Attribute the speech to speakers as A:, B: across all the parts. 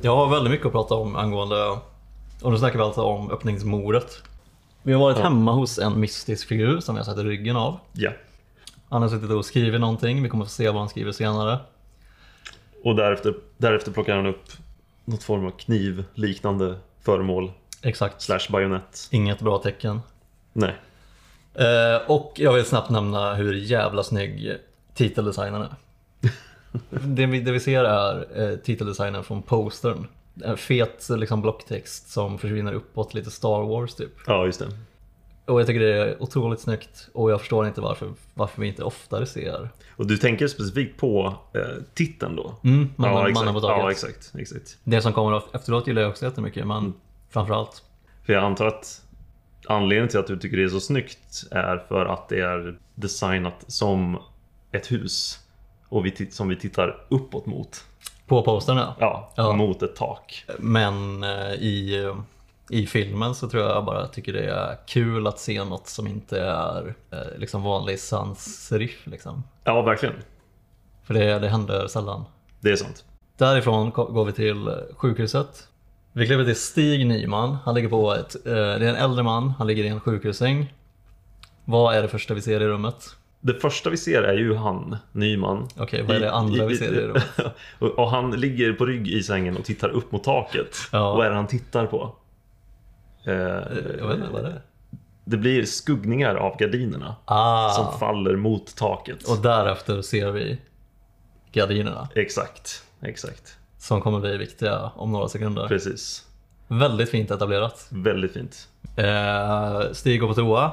A: Jag har väldigt mycket att prata om angående, och nu snackar vi alltså om öppningsmordet. Vi har varit hemma hos en mystisk figur som vi har sett i ryggen av.
B: Ja.
A: Han har suttit och skrivit någonting, vi kommer få se vad han skriver senare.
B: Och därefter, därefter plockar han upp något form av knivliknande föremål.
A: Exakt.
B: Slash bajonett.
A: Inget bra tecken.
B: Nej.
A: Eh, och jag vill snabbt nämna hur jävla snygg titeldesignen är. det, vi, det vi ser är eh, titeldesignen från postern. En fet liksom, blocktext som försvinner uppåt, lite Star Wars typ.
B: Ja, just det.
A: Och jag tycker det är otroligt snyggt och jag förstår inte varför, varför vi inte oftare ser.
B: Och du tänker specifikt på eh, titeln då?
A: Mm, mannen,
B: ja, exakt.
A: mannen på taket.
B: ja, exakt, exakt.
A: Det som kommer efteråt gillar jag också jättemycket men framförallt
B: För jag antar att anledningen till att du tycker det är så snyggt är för att det är designat som ett hus. Och vi tit- som vi tittar uppåt mot.
A: på postern ja.
B: Ja,
A: Ja.
B: mot ett tak.
A: Men eh, i, i filmen så tror jag bara tycker det är kul att se något som inte är eh, liksom vanlig sans serif. Liksom.
B: Ja, verkligen.
A: För det, det händer sällan.
B: Det är sant.
A: Därifrån ko- går vi till eh, sjukhuset. Vi klipper till Stig Nyman. Han ligger på ett, eh, det är en äldre man, han ligger i en sjukhussäng. Vad är det första vi ser i rummet?
B: Det första vi ser är ju han, Nyman.
A: Okej, vad är det andra vi ser i rummet?
B: och, och han ligger på rygg i sängen och tittar upp mot taket.
A: Ja.
B: Vad är det han tittar på? Eh,
A: Jag vet inte, vad är det?
B: det blir skuggningar av gardinerna som
A: Ah,
B: faller mot taket.
A: och därefter ser vi gardinerna
B: Exakt, exakt.
A: som kommer bli viktiga om några sekunder.
B: Precis.
A: Väldigt fint etablerat.
B: Väldigt fint.
A: Eh, Stig går på toa.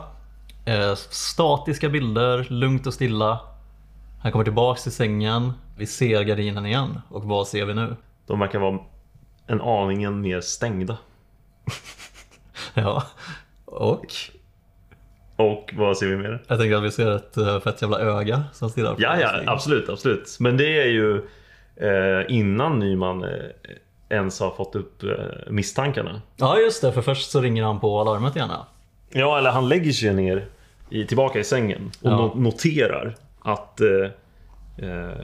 A: Eh, statiska bilder, lugnt och stilla. Han kommer tillbaks till sängen. Vi ser gardinen igen. Och vad ser vi nu?
B: De verkar vara en aningen mer stängda.
A: Ja. Och
B: Och vad ser vi mer?
A: jag tänker att vi ser ett eh, fett jävla öga som stirrar på
B: Ja,
A: oss.
B: ja, absolut, absolut. Men det är ju eh, innan Nyman eh, ens har fått upp eh, misstankarna.
A: ja, just det. För först så ringer han på alarmet igen. ja.
B: Ja, eller han lägger sig ner i, tillbaka i sängen och
A: Ja.
B: no- noterar att eh, eh,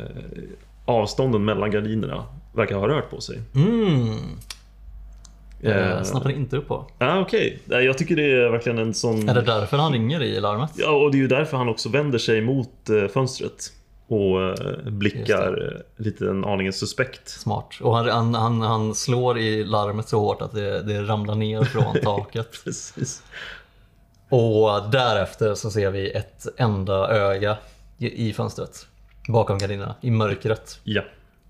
B: avstånden mellan gardinerna verkar ha rört på sig.
A: Mm.
B: Eh,
A: Eh, snappade inte upp på.
B: ah, Okej, Nej, jag tycker det är verkligen en sån...
A: Är det därför han ringer i larmet?
B: Ja, och det är ju därför han också vänder sig mot eh, fönstret och eh, blickar eh, lite en aningen suspekt.
A: Smart. Och han, han, han, han slår i larmet så hårt att det, det ramlar ner från taket.
B: Precis.
A: Och därefter så ser vi ett enda öga i i fönstret. Bakom gardinerna, i mörkret.
B: Ja.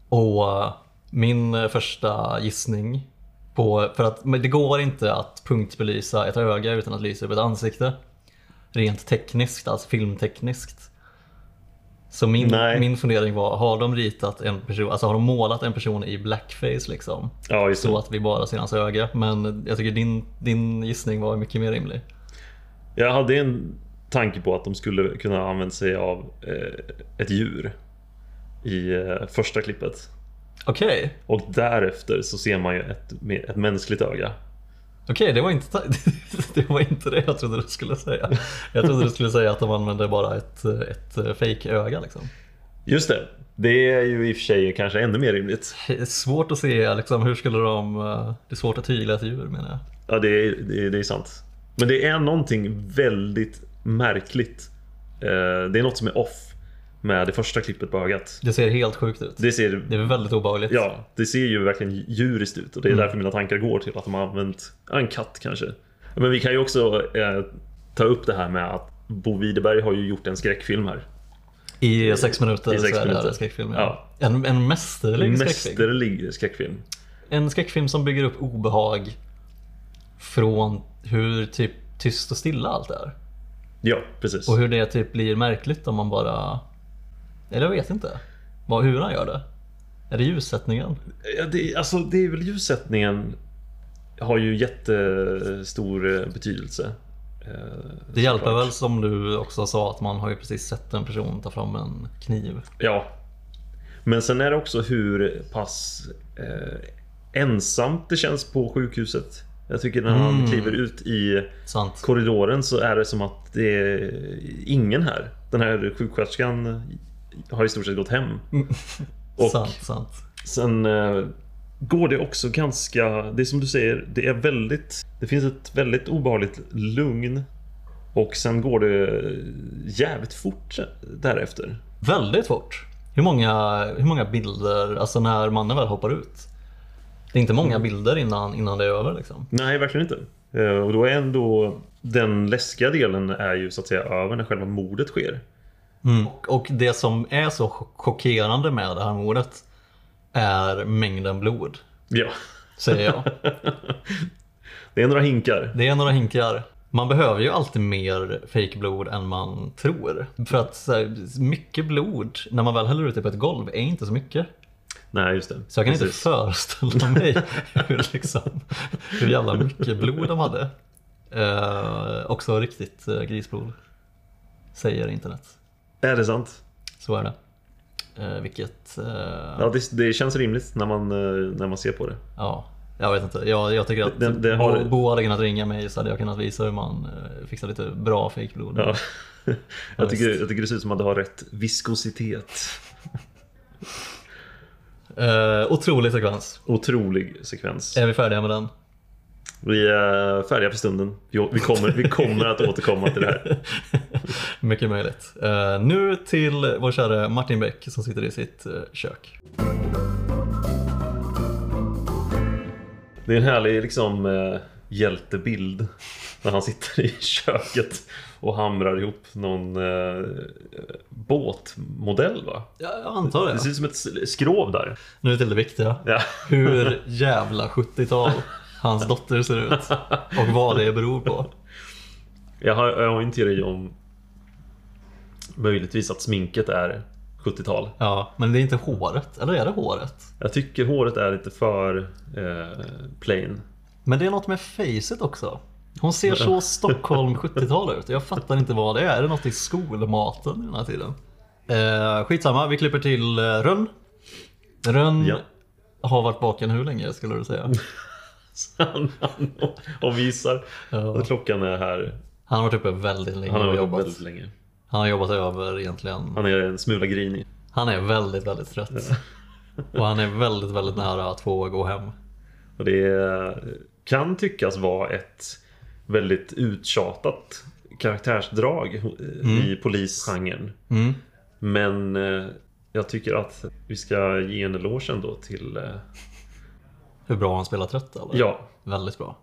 A: Och eh, min eh, första gissning på, för att men det går inte att punktbelysa ett öga utan att lysa upp ett ansikte. Rent tekniskt, alltså filmtekniskt. Så min,
B: Nej.
A: min fundering var, har de ritat en person, alltså har de målat en person i blackface liksom?
B: Ja, just
A: Så
B: det.
A: att vi bara ser hans öga. Men jag tycker din, din gissning var mycket mer rimlig.
B: Jag hade en tanke på att de skulle kunna använda sig av eh, ett djur i eh, första klippet.
A: Okej.
B: Och därefter så ser man ju ett, med ett mänskligt öga.
A: Okej, det var, inte ta- det var inte det jag trodde du skulle säga. Jag trodde du skulle säga att de använde bara ett, ett fake-öga. Liksom.
B: Just det. Det är ju i och för sig kanske ännu mer rimligt.
A: Det är svårt att se, liksom, hur skulle de... eh, Det är svårt att tygla ett djur menar jag.
B: Ja, det är, det är, det är sant. Men det är någonting väldigt märkligt. Eh, det är något som är off med det första klippet på ögat.
A: Det ser helt sjukt ut.
B: Det ser,
A: Det är väldigt obehagligt.
B: ja, det ser ju verkligen djuriskt ut och
A: Mm.
B: det är därför mina tankar går till att de har använt ja, en katt kanske. Men vi kan ju också eh, ta upp det här med att Bo Widerberg har ju gjort en skräckfilm här.
A: I sex minuter
B: I sex
A: så är det
B: minuter.
A: en skräckfilm. Ja. En, en mästerlig skräckfilm.
B: Mästerlig skräckfilm.
A: En skräckfilm som bygger upp obehag från hur typ tyst och stilla allt är.
B: Ja, precis.
A: Och hur det typ blir märkligt om man bara... Eller jag vet inte. Vad, hur han gör det. Är det ljussättningen?
B: Ja, det, alltså, det är väl ljussättningen har ju jättestor eh, betydelse. Eh,
A: Det hjälper
B: såklart.
A: väl som du också sa att man har ju precis sett en person ta fram en kniv.
B: Ja. Men sen är det också hur pass eh, ensamt det känns på sjukhuset. Jag tycker när han
A: Mm.
B: kliver ut i
A: Sant.
B: korridoren så är det som att det är ingen här. Den här sjuksköterskan har i stort sett gått hem. Och
A: Sant, sant.
B: sen eh, går det också ganska... Det är som du säger, det är väldigt... Det finns ett väldigt obehagligt lugn. Och sen går det jävligt fort därefter.
A: Väldigt fort. Hur många, hur många bilder, alltså när mannen väl hoppar ut. Det är inte många bilder innan, innan det är över liksom.
B: Nej, verkligen inte. Eh, Och då är ändå... Den läskiga delen är ju så att säga över när själva mordet sker.
A: Och, och det som är så chock- chockerande med det här mordet är mängden blod,
B: Ja.
A: säger jag.
B: Det är några hinkar.
A: Det är några hinkar. Man behöver ju alltid mer fejkblod än man tror. För att så här, mycket blod, när man väl häller ut det på ett golv, är inte så mycket.
B: Nej, just det.
A: Så jag kan
B: Precis.
A: inte föreställa mig hur, liksom, hur jävla mycket blod de hade. Eh, också riktigt eh, grisblod, säger internet.
B: Är det sant?
A: Så är det. Eh, vilket, eh,
B: Ja, det, det känns rimligt när man, eh, när man ser på det.
A: ja, jag vet inte. Jag, jag tycker att
B: Den- den har-
A: Bo, Bo hade kunnat ringa mig så hade jag kunnat visa hur man eh, fixar lite bra fejkblod.
B: Ja. Jag, tycker,
A: visst.
B: jag tycker det ser ut som att det har rätt viskositet.
A: Eh, otrolig sekvens.
B: Otrolig sekvens.
A: Är vi färdiga med den?
B: Vi är färdiga för stunden. Vi, vi, kommer, vi kommer att återkomma till det här.
A: Mycket möjligt. Eh, nu till vår käre Martin Beck som sitter i sitt eh, kök.
B: Det är en härlig liksom, eh, hjältebild när han sitter i köket och hamrar ihop någon eh, båtmodell. Va?
A: Ja, jag antar
B: Det ser
A: det.
B: ut som ett skrov där.
A: Nu till det viktiga.
B: Ja.
A: Hur jävla 70-tal hans dotter ser ut och vad det beror på.
B: Jag har, jag har en teori om möjligtvis att sminket är 70-tal.
A: Ja, men det är inte håret. Eller är det håret?
B: Jag tycker håret är lite för eh, plain.
A: Men det är något med facet också. Hon ser så Stockholm 70-tal ut. Jag fattar inte vad det är. Är det något i skolmaten i den här tiden? Eh, skitsamma, vi klipper till eh, Rönn. Rönn
B: Ja.
A: har varit vaken hur länge skulle du säga?
B: Han, han avvisar.
A: Ja.
B: Och klockan är här.
A: Han har varit uppe väldigt länge
B: Han har
A: och
B: jobbat
A: jobbat.
B: väldigt länge.
A: Han har jobbat över egentligen.
B: Han är en smula grinig.
A: Han är väldigt, väldigt trött. Och han är väldigt, väldigt nära att få gå hem.
B: Och det är- kan tyckas vara ett väldigt uttjatat karaktärsdrag eh, i polisgenren.
A: Mm.
B: Men eh, jag tycker att vi ska ge en eloge ändå till... eh,
A: Hur bra han spelar trött eller?
B: Ja,
A: Väldigt bra.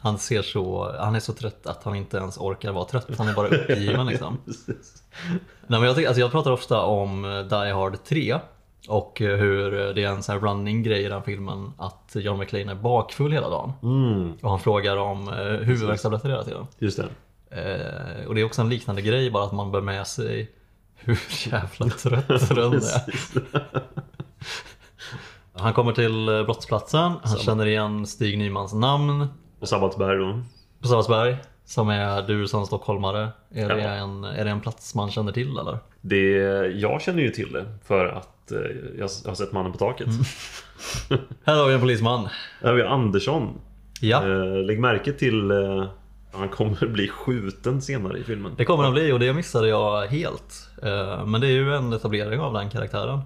A: Han ser så, han är så trött att han inte ens orkar vara trött. Han är bara uppgiven liksom.
B: precis.
A: Nej, men jag, tycker- alltså, jag pratar ofta om eh, Die Hard 3 och eh, hur det är en sån här running grej i den filmen att John McClane är bakfull hela dagen.
B: Mm,
A: Och han frågar om eh, huvudvärkstabletter hela tiden.
B: just det.
A: Eh, och det är också en liknande grej bara att man bär med sig hur jävla trött Rönn är. Han kommer till eh, brottsplatsen, han känner igen Stig Nymans namn.
B: Och Sabbatsberg då.
A: På Sabbatsberg, som är du som stockholmare. Är, det
B: Ja.
A: en, är det en plats man känner till eller?
B: Det, jag känner ju till det för att eh, jag har sett Mannen på taket.
A: Mm. Här har vi en polisman.
B: Här har vi Andersson.
A: Ja,
B: Eh, Lägg märke till eh, han kommer bli skjuten senare i filmen.
A: det kommer han bli och det missade jag helt. Eh, Men det är ju en etablering av den karaktären.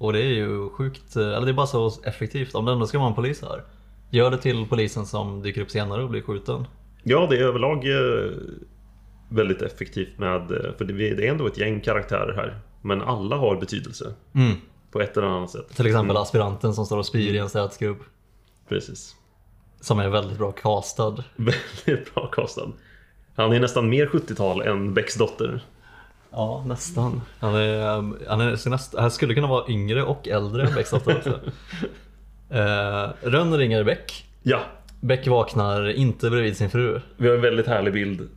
A: Och det är ju sjukt, eh, eller det är bara så effektivt. Om det ändå ska vara en polis här. Gör det till polisen som dyker upp senare och blir skjuten.
B: Ja, det är överlag eh, väldigt effektivt med... eh, För det det är ändå ett gäng karaktärer här. Men alla har betydelse.
A: Mm.
B: På ett eller annat sätt.
A: Till exempel aspiranten som står och spyr i en städsgrupp.
B: Precis.
A: Som är väldigt bra castad.
B: Väldigt bra castad. Han är nästan mer 70-tal än Becks dotter.
A: Ja, nästan. Han, är, um, han, är, så näst, han skulle kunna vara yngre och äldre än Beckstotter också. Eh, Rönn ringer Beck.
B: Ja,
A: Beck vaknar inte bredvid sin fru.
B: vi har en väldigt härlig bild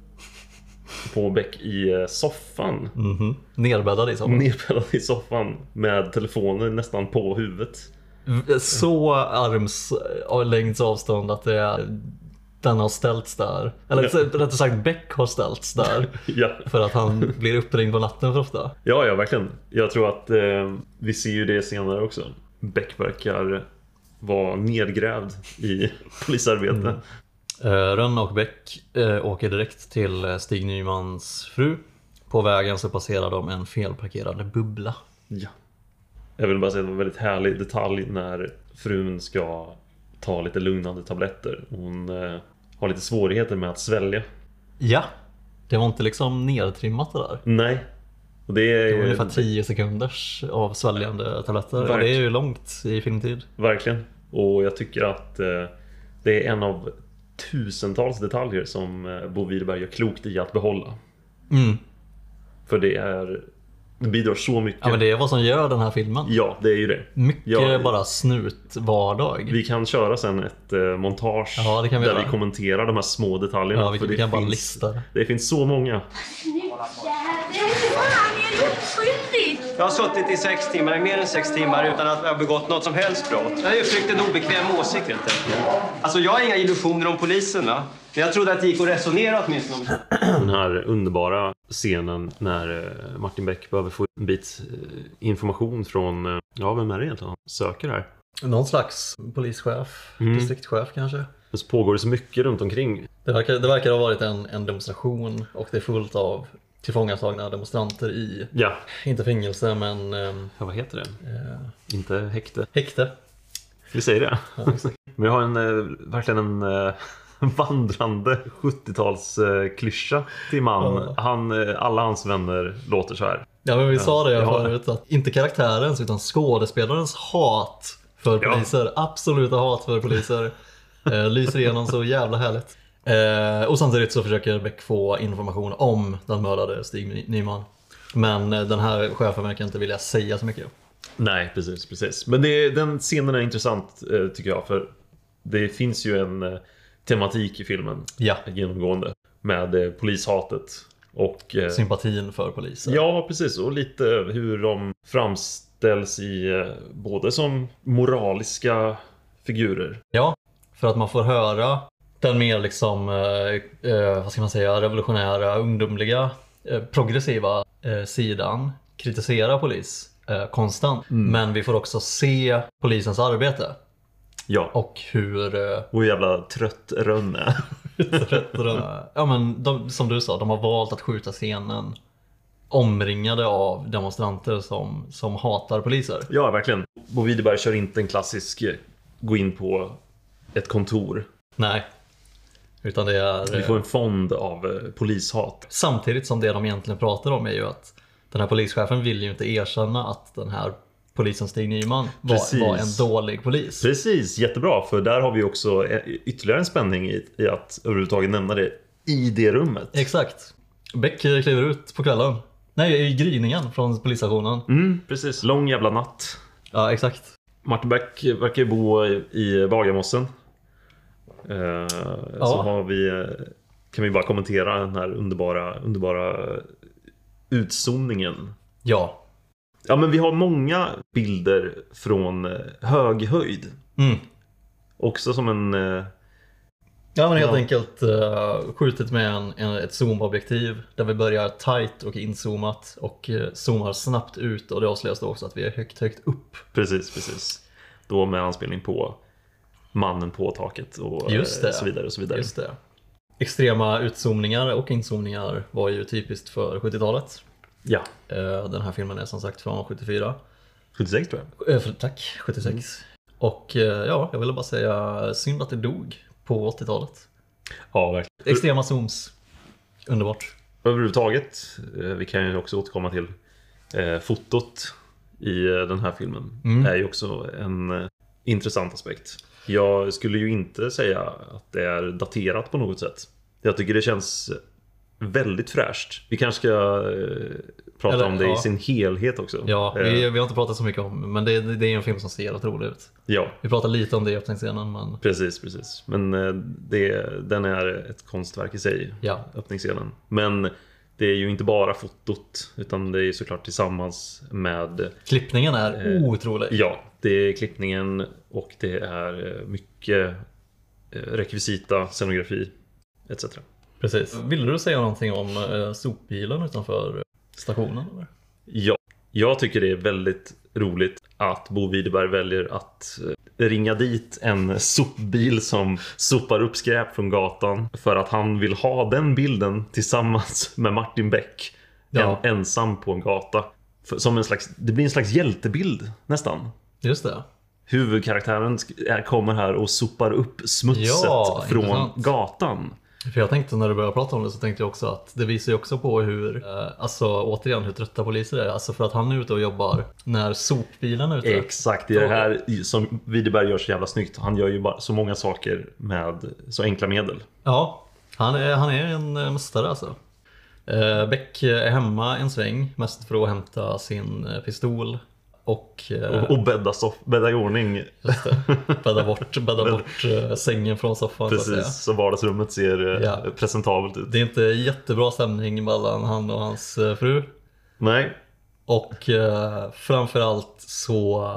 B: på Beck i eh, soffan.
A: Mhm. Nerbäddad i soffan.
B: Nedbäddad i soffan med telefonen nästan på huvudet.
A: Så arms av- längds avstånd att det är, den har ställts där. Eller så- rättare sagt Beck har ställts där.
B: Ja,
A: För att han blir uppringd på natten för ofta.
B: ja, ja verkligen. Jag tror att eh, vi ser ju det senare också. Beck verkar vara nedgrävd i polisarbete.
A: Eh, Rönn och Bäck eh, åker direkt till eh, Stig Nymans fru. På vägen så passerar de en felparkerad bubbla.
B: Ja. Jag vill bara säga att det var en väldigt härlig detalj när frun ska ta lite lugnande tabletter. Hon eh, har lite svårigheter med att svälja.
A: Ja, det var inte liksom nedtrimmat det där.
B: Nej. Och det
A: Det
B: är
A: var
B: ju
A: ungefär 10 sekunders av sväljande tabletter. Ja,
B: Verkligen.
A: det är ju långt i filmtid.
B: verkligen. Och jag tycker att eh, det är en av tusentals detaljer som eh, Bo Widerberg gör klokt i att behålla.
A: Mm.
B: För det är det bidrar så mycket.
A: Ja, men det är vad som gör den här filmen.
B: Ja, det är ju det.
A: Mycket
B: Ja.
A: bara snut vardag.
B: Vi kan köra sen ett eh, montage
A: Ja, det kan vi
B: där
A: göra.
B: vi kommenterar de här små detaljerna.
A: Ja, vi,
B: för
A: vi
B: det
A: kan bara
B: finns-
A: lista det.
B: Det finns så många.
C: Snutjävel! Fan, är du oskyldig?
D: Jag har suttit i sex timmar, mer än sex timmar, utan att ha begått något som helst brott. Jag har uttryckt en obekväm åsikt helt enkelt. Alltså, jag har inga illusioner om polisen, va? Men jag trodde att det gick att resonera åtminstone om
B: Den här underbara scenen när eh, Martin Beck behöver få en bit eh, information från, eh, ja vem är det egentligen han söker här?
A: Någon slags polischef,
B: Mm.
A: distriktschef kanske.
B: Men så pågår det så mycket runt omkring.
A: Det verkar, det verkar ha varit en, en demonstration och det är fullt av tillfångatagna demonstranter i,
B: Ja,
A: inte fängelse men ehm,
B: ja vad heter det?
A: eh,
B: Inte häkte.
A: häkte.
B: Vi säger det.
A: Ja, exakt.
B: Men jag har en, eh, verkligen en eh, vandrande 70-talsklyscha till man.
A: Ja.
B: Han, eh, alla hans vänner låter så här.
A: Ja men vi sa det
B: ja.
A: förut att inte karaktärens utan skådespelarens hat för
B: Ja.
A: poliser, absoluta hat för poliser, eh, lyser igenom så jävla härligt. Eh, och samtidigt så försöker Beck få information om den mördade Stig Ny- Nyman. Men eh, den här chefen verkar inte vilja säga så mycket.
B: Nej, precis, precis. Men det, den scenen är intressant eh, tycker jag för det finns ju en eh, tematik i filmen
A: Ja,
B: genomgående med eh, polishatet och eh,
A: sympatin för poliser.
B: ja, precis och lite hur de framställs i eh, både som moraliska figurer.
A: Ja, för att man får höra den mer liksom, eh, eh, vad ska man säga, revolutionära, ungdomliga, eh, progressiva eh, sidan kritisera polis eh, konstant.
B: Mm.
A: Men vi får också se polisens arbete
B: Ja,
A: och hur eh,
B: och hur jävla trött Rönn är.
A: de, ja, men de, som du sa, de har valt att skjuta scenen omringade av demonstranter som, som hatar poliser.
B: Ja, verkligen. Bo Widerberg kör inte en klassisk eh, gå in på ett kontor.
A: Nej, utan det är...
B: Vi
A: eh,
B: får en fond av eh, polishat.
A: Samtidigt som det de egentligen pratar om är ju att den här polischefen vill ju inte erkänna att den här polisen Stig Nyman
B: Precis.
A: var, var en dålig polis.
B: Precis, jättebra. För där har vi också eh, ytterligare en spänning i, i att överhuvudtaget nämna det i det rummet.
A: Exakt. Beck kliver ut på kvällen. Nej, i gryningen från polisstationen.
B: Mm, precis. Lång jävla natt.
A: Ja, exakt.
B: Martin Beck verkar ju bo i- i Bagarmossen. Eh, Så har vi, eh, kan vi bara kommentera den här underbara, underbara eh, utzoomningen
A: Ja.
B: Ja men vi har många bilder från eh, hög höjd.
A: Mm.
B: Också som en... eh,
A: Ja men helt
B: Ja.
A: enkelt eh, skjutit med en, en, ett zoomobjektiv där vi börjar tight och inzoomat och eh, zoomar snabbt ut och det avslöjas då också att vi är högt, högt upp.
B: Precis, precis. Då med anspelning på mannen på taket och eh,
A: Just det.
B: så vidare. Och så vidare.
A: Just det. Extrema utzoomningar och inzoomningar var ju typiskt för 70-talet.
B: Ja.
A: Eh, Den här filmen är som sagt från 74.
B: 76 tror jag.
A: Eh, för- Tack, 76.
B: Mm.
A: Och eh, ja, jag ville bara säga synd att det dog på 80-talet.
B: Ja, verkligen.
A: Extrema zooms. Underbart.
B: Överhuvudtaget, eh, vi kan ju också återkomma till eh, fotot i eh, den här filmen.
A: Mm.
B: är ju också en eh, intressant aspekt. Jag skulle ju inte säga att det är daterat på något sätt. Jag tycker det känns väldigt fräscht. Vi kanske ska eh, prata
A: Eller,
B: om det
A: ja.
B: i sin helhet också.
A: Ja,
B: Eh,
A: vi, vi har inte pratat så mycket om men det, det är en film som ser jävligt rolig ut.
B: ja.
A: Vi pratade lite om det i öppningsscenen men
B: Precis, precis. Men eh, det, den är ett konstverk i sig,
A: Ja.
B: öppningsscenen. Men det är ju inte bara fotot, utan det är ju såklart tillsammans med
A: klippningen är
B: Eh,
A: otrolig.
B: Ja, det är klippningen och det är eh, mycket eh, rekvisita, scenografi etc.
A: Precis. Ville du säga någonting om eh, sopbilen utanför stationen? Eller?
B: Ja, jag tycker det är väldigt roligt att Bo Widerberg väljer att eh, ringa dit en sopbil som sopar upp skräp från gatan för att han vill ha den bilden tillsammans med Martin Beck
A: Ja.
B: en, ensam på en gata. För- Som en slags, det blir en slags hjältebild nästan.
A: Just det.
B: Huvudkaraktären sk- är- kommer här och sopar upp smutset
A: Ja,
B: från
A: intressant.
B: gatan.
A: För jag tänkte när du började prata om det så tänkte jag också att det visar ju också på hur, eh, alltså återigen hur trötta poliser är. Alltså för att han är ute och jobbar när sopbilen är ute.
B: Exakt, det är det här i- som Widerberg gör så jävla snyggt. Han gör ju bara så många saker med så enkla medel.
A: Ja, han är, han är en eh, mästare alltså. Eh, Beck är hemma en sväng, mest för att hämta sin eh, pistol och eh,
B: Och, och bädda, soff, bädda i ordning
A: bädda bort, bädda bort eh, sängen från soffan så att säga.
B: precis så vardagsrummet ser eh,
A: Ja.
B: presentabelt ut.
A: Det är inte jättebra stämning mellan han och hans eh, fru.
B: Nej,
A: Och eh, framförallt så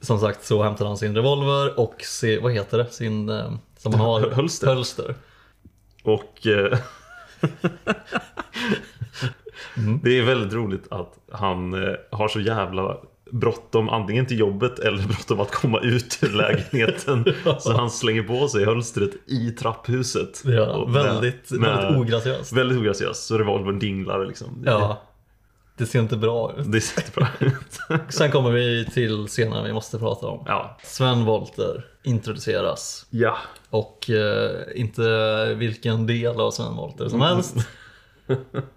A: Som sagt så hämtar han sin revolver och se, vad heter det? Sin eh, som han har,
B: Hölster.
A: hölster.
B: Och... eh, Det är väldigt roligt att han eh, har så jävla bråttom antingen till jobbet eller bråttom att komma ut ur lägenheten. så han slänger på sig hölstret i trapphuset.
A: Ja,
B: Och med-
A: väldigt,
B: med-
A: väldigt ograciöst.
B: Väldigt ograciöst, så revolvern dinglar liksom.
A: Ja. Det ser inte bra ut.
B: Det ser inte bra ut.
A: Sen kommer vi till senare vi måste prata om.
B: ja.
A: Sven Wollter introduceras.
B: ja.
A: Och eh, inte vilken del av Sven Wollter som helst.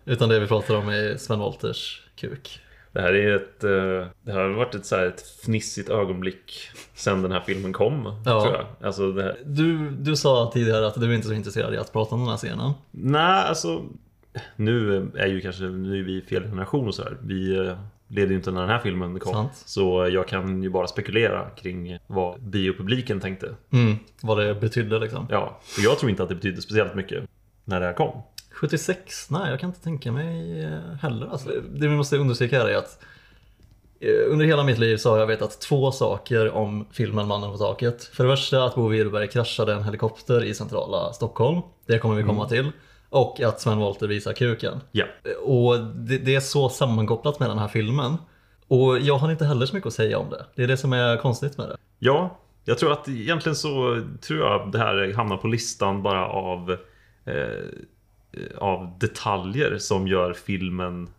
A: Utan det vi pratar om är Sven Wollters kuk.
B: Det här är ett... eh, Det här har varit ett, så här, ett fnissigt ögonblick sen den här filmen kom.
A: Ja.
B: Tror jag. Alltså det här,
A: Du, du sa tidigare att du inte är så intresserad i att prata om den här scenen.
B: Nej, alltså nu är ju kanske nu är vi fel generation och sådär. Vi eh, levde ju inte när den här filmen kom.
A: Sant.
B: Så jag kan ju bara spekulera kring vad biopubliken tänkte.
A: Mm, vad det betydde liksom.
B: Ja, för jag tror inte att det betydde speciellt mycket när det här kom.
A: 76? Nej, jag kan inte tänka mig eh, heller. Alltså, det vi måste understryka här är att eh, under hela mitt liv så har jag vetat två saker om filmen Mannen på taket. För det värsta att Bo Widerberg kraschade en helikopter i centrala Stockholm. Det kommer vi komma till. Och att Sven Wollter visar kuken.
B: Ja,
A: Och det, det är så sammankopplat med den här filmen. Och jag har inte heller så mycket att säga om det. Det är det som är konstigt med det.
B: ja jag tror att egentligen så tror jag det här hamnar på listan bara av, eh, av detaljer som gör filmen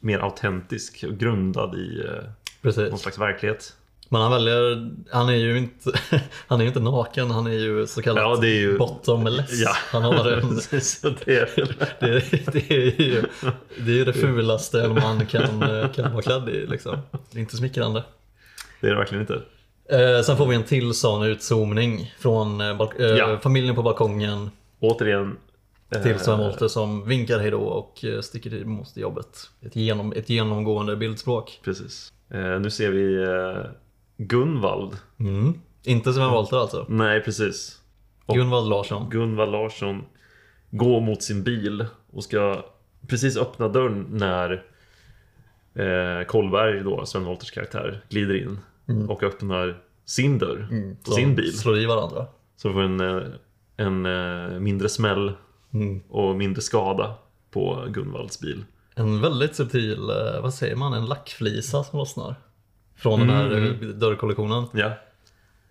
B: mer autentisk och grundad i eh,
A: Precis.
B: någon slags verklighet.
A: Men han väljer, han är ju inte, han är ju inte naken, han är ju så kallat
B: Ja, det är ju-
A: bottomless.
B: Ja.
A: Han har en,
B: Så det är-
A: det, är- det är ju det, är ju det fulaste en man kan, eh, kan vara klädd i. Liksom. Det är inte smickrande.
B: Det är det verkligen inte.
A: Eh, sen får vi en till sån utzoomning från eh, balk- eh,
B: Ja.
A: familjen på balkongen
B: Återigen. eh,
A: till Sven Wollter som vinkar hejdå och eh, sticker i- mot jobbet. Ett, genom, ett genomgående bildspråk.
B: Precis. Eh, nu ser vi eh, Gunvald.
A: Mm. Inte Sven Wollter alltså.
B: Nej, precis. Och-
A: Gunvald Larsson.
B: Gunvald Larsson går mot sin bil och ska precis öppna dörren när eh, Kolberg, då, Sven Wollters karaktär, glider in och öppnar sin dörr på
A: som
B: sin bil.
A: Slår i varandra.
B: Så får en, eh, en eh, mindre smäll och mindre skada på Gunvalds bil.
A: En väldigt subtil, eh, vad säger man, en lackflisa som lossnar. Från den här eh,
B: Mm.
A: dörrkollektionen.
B: Ja,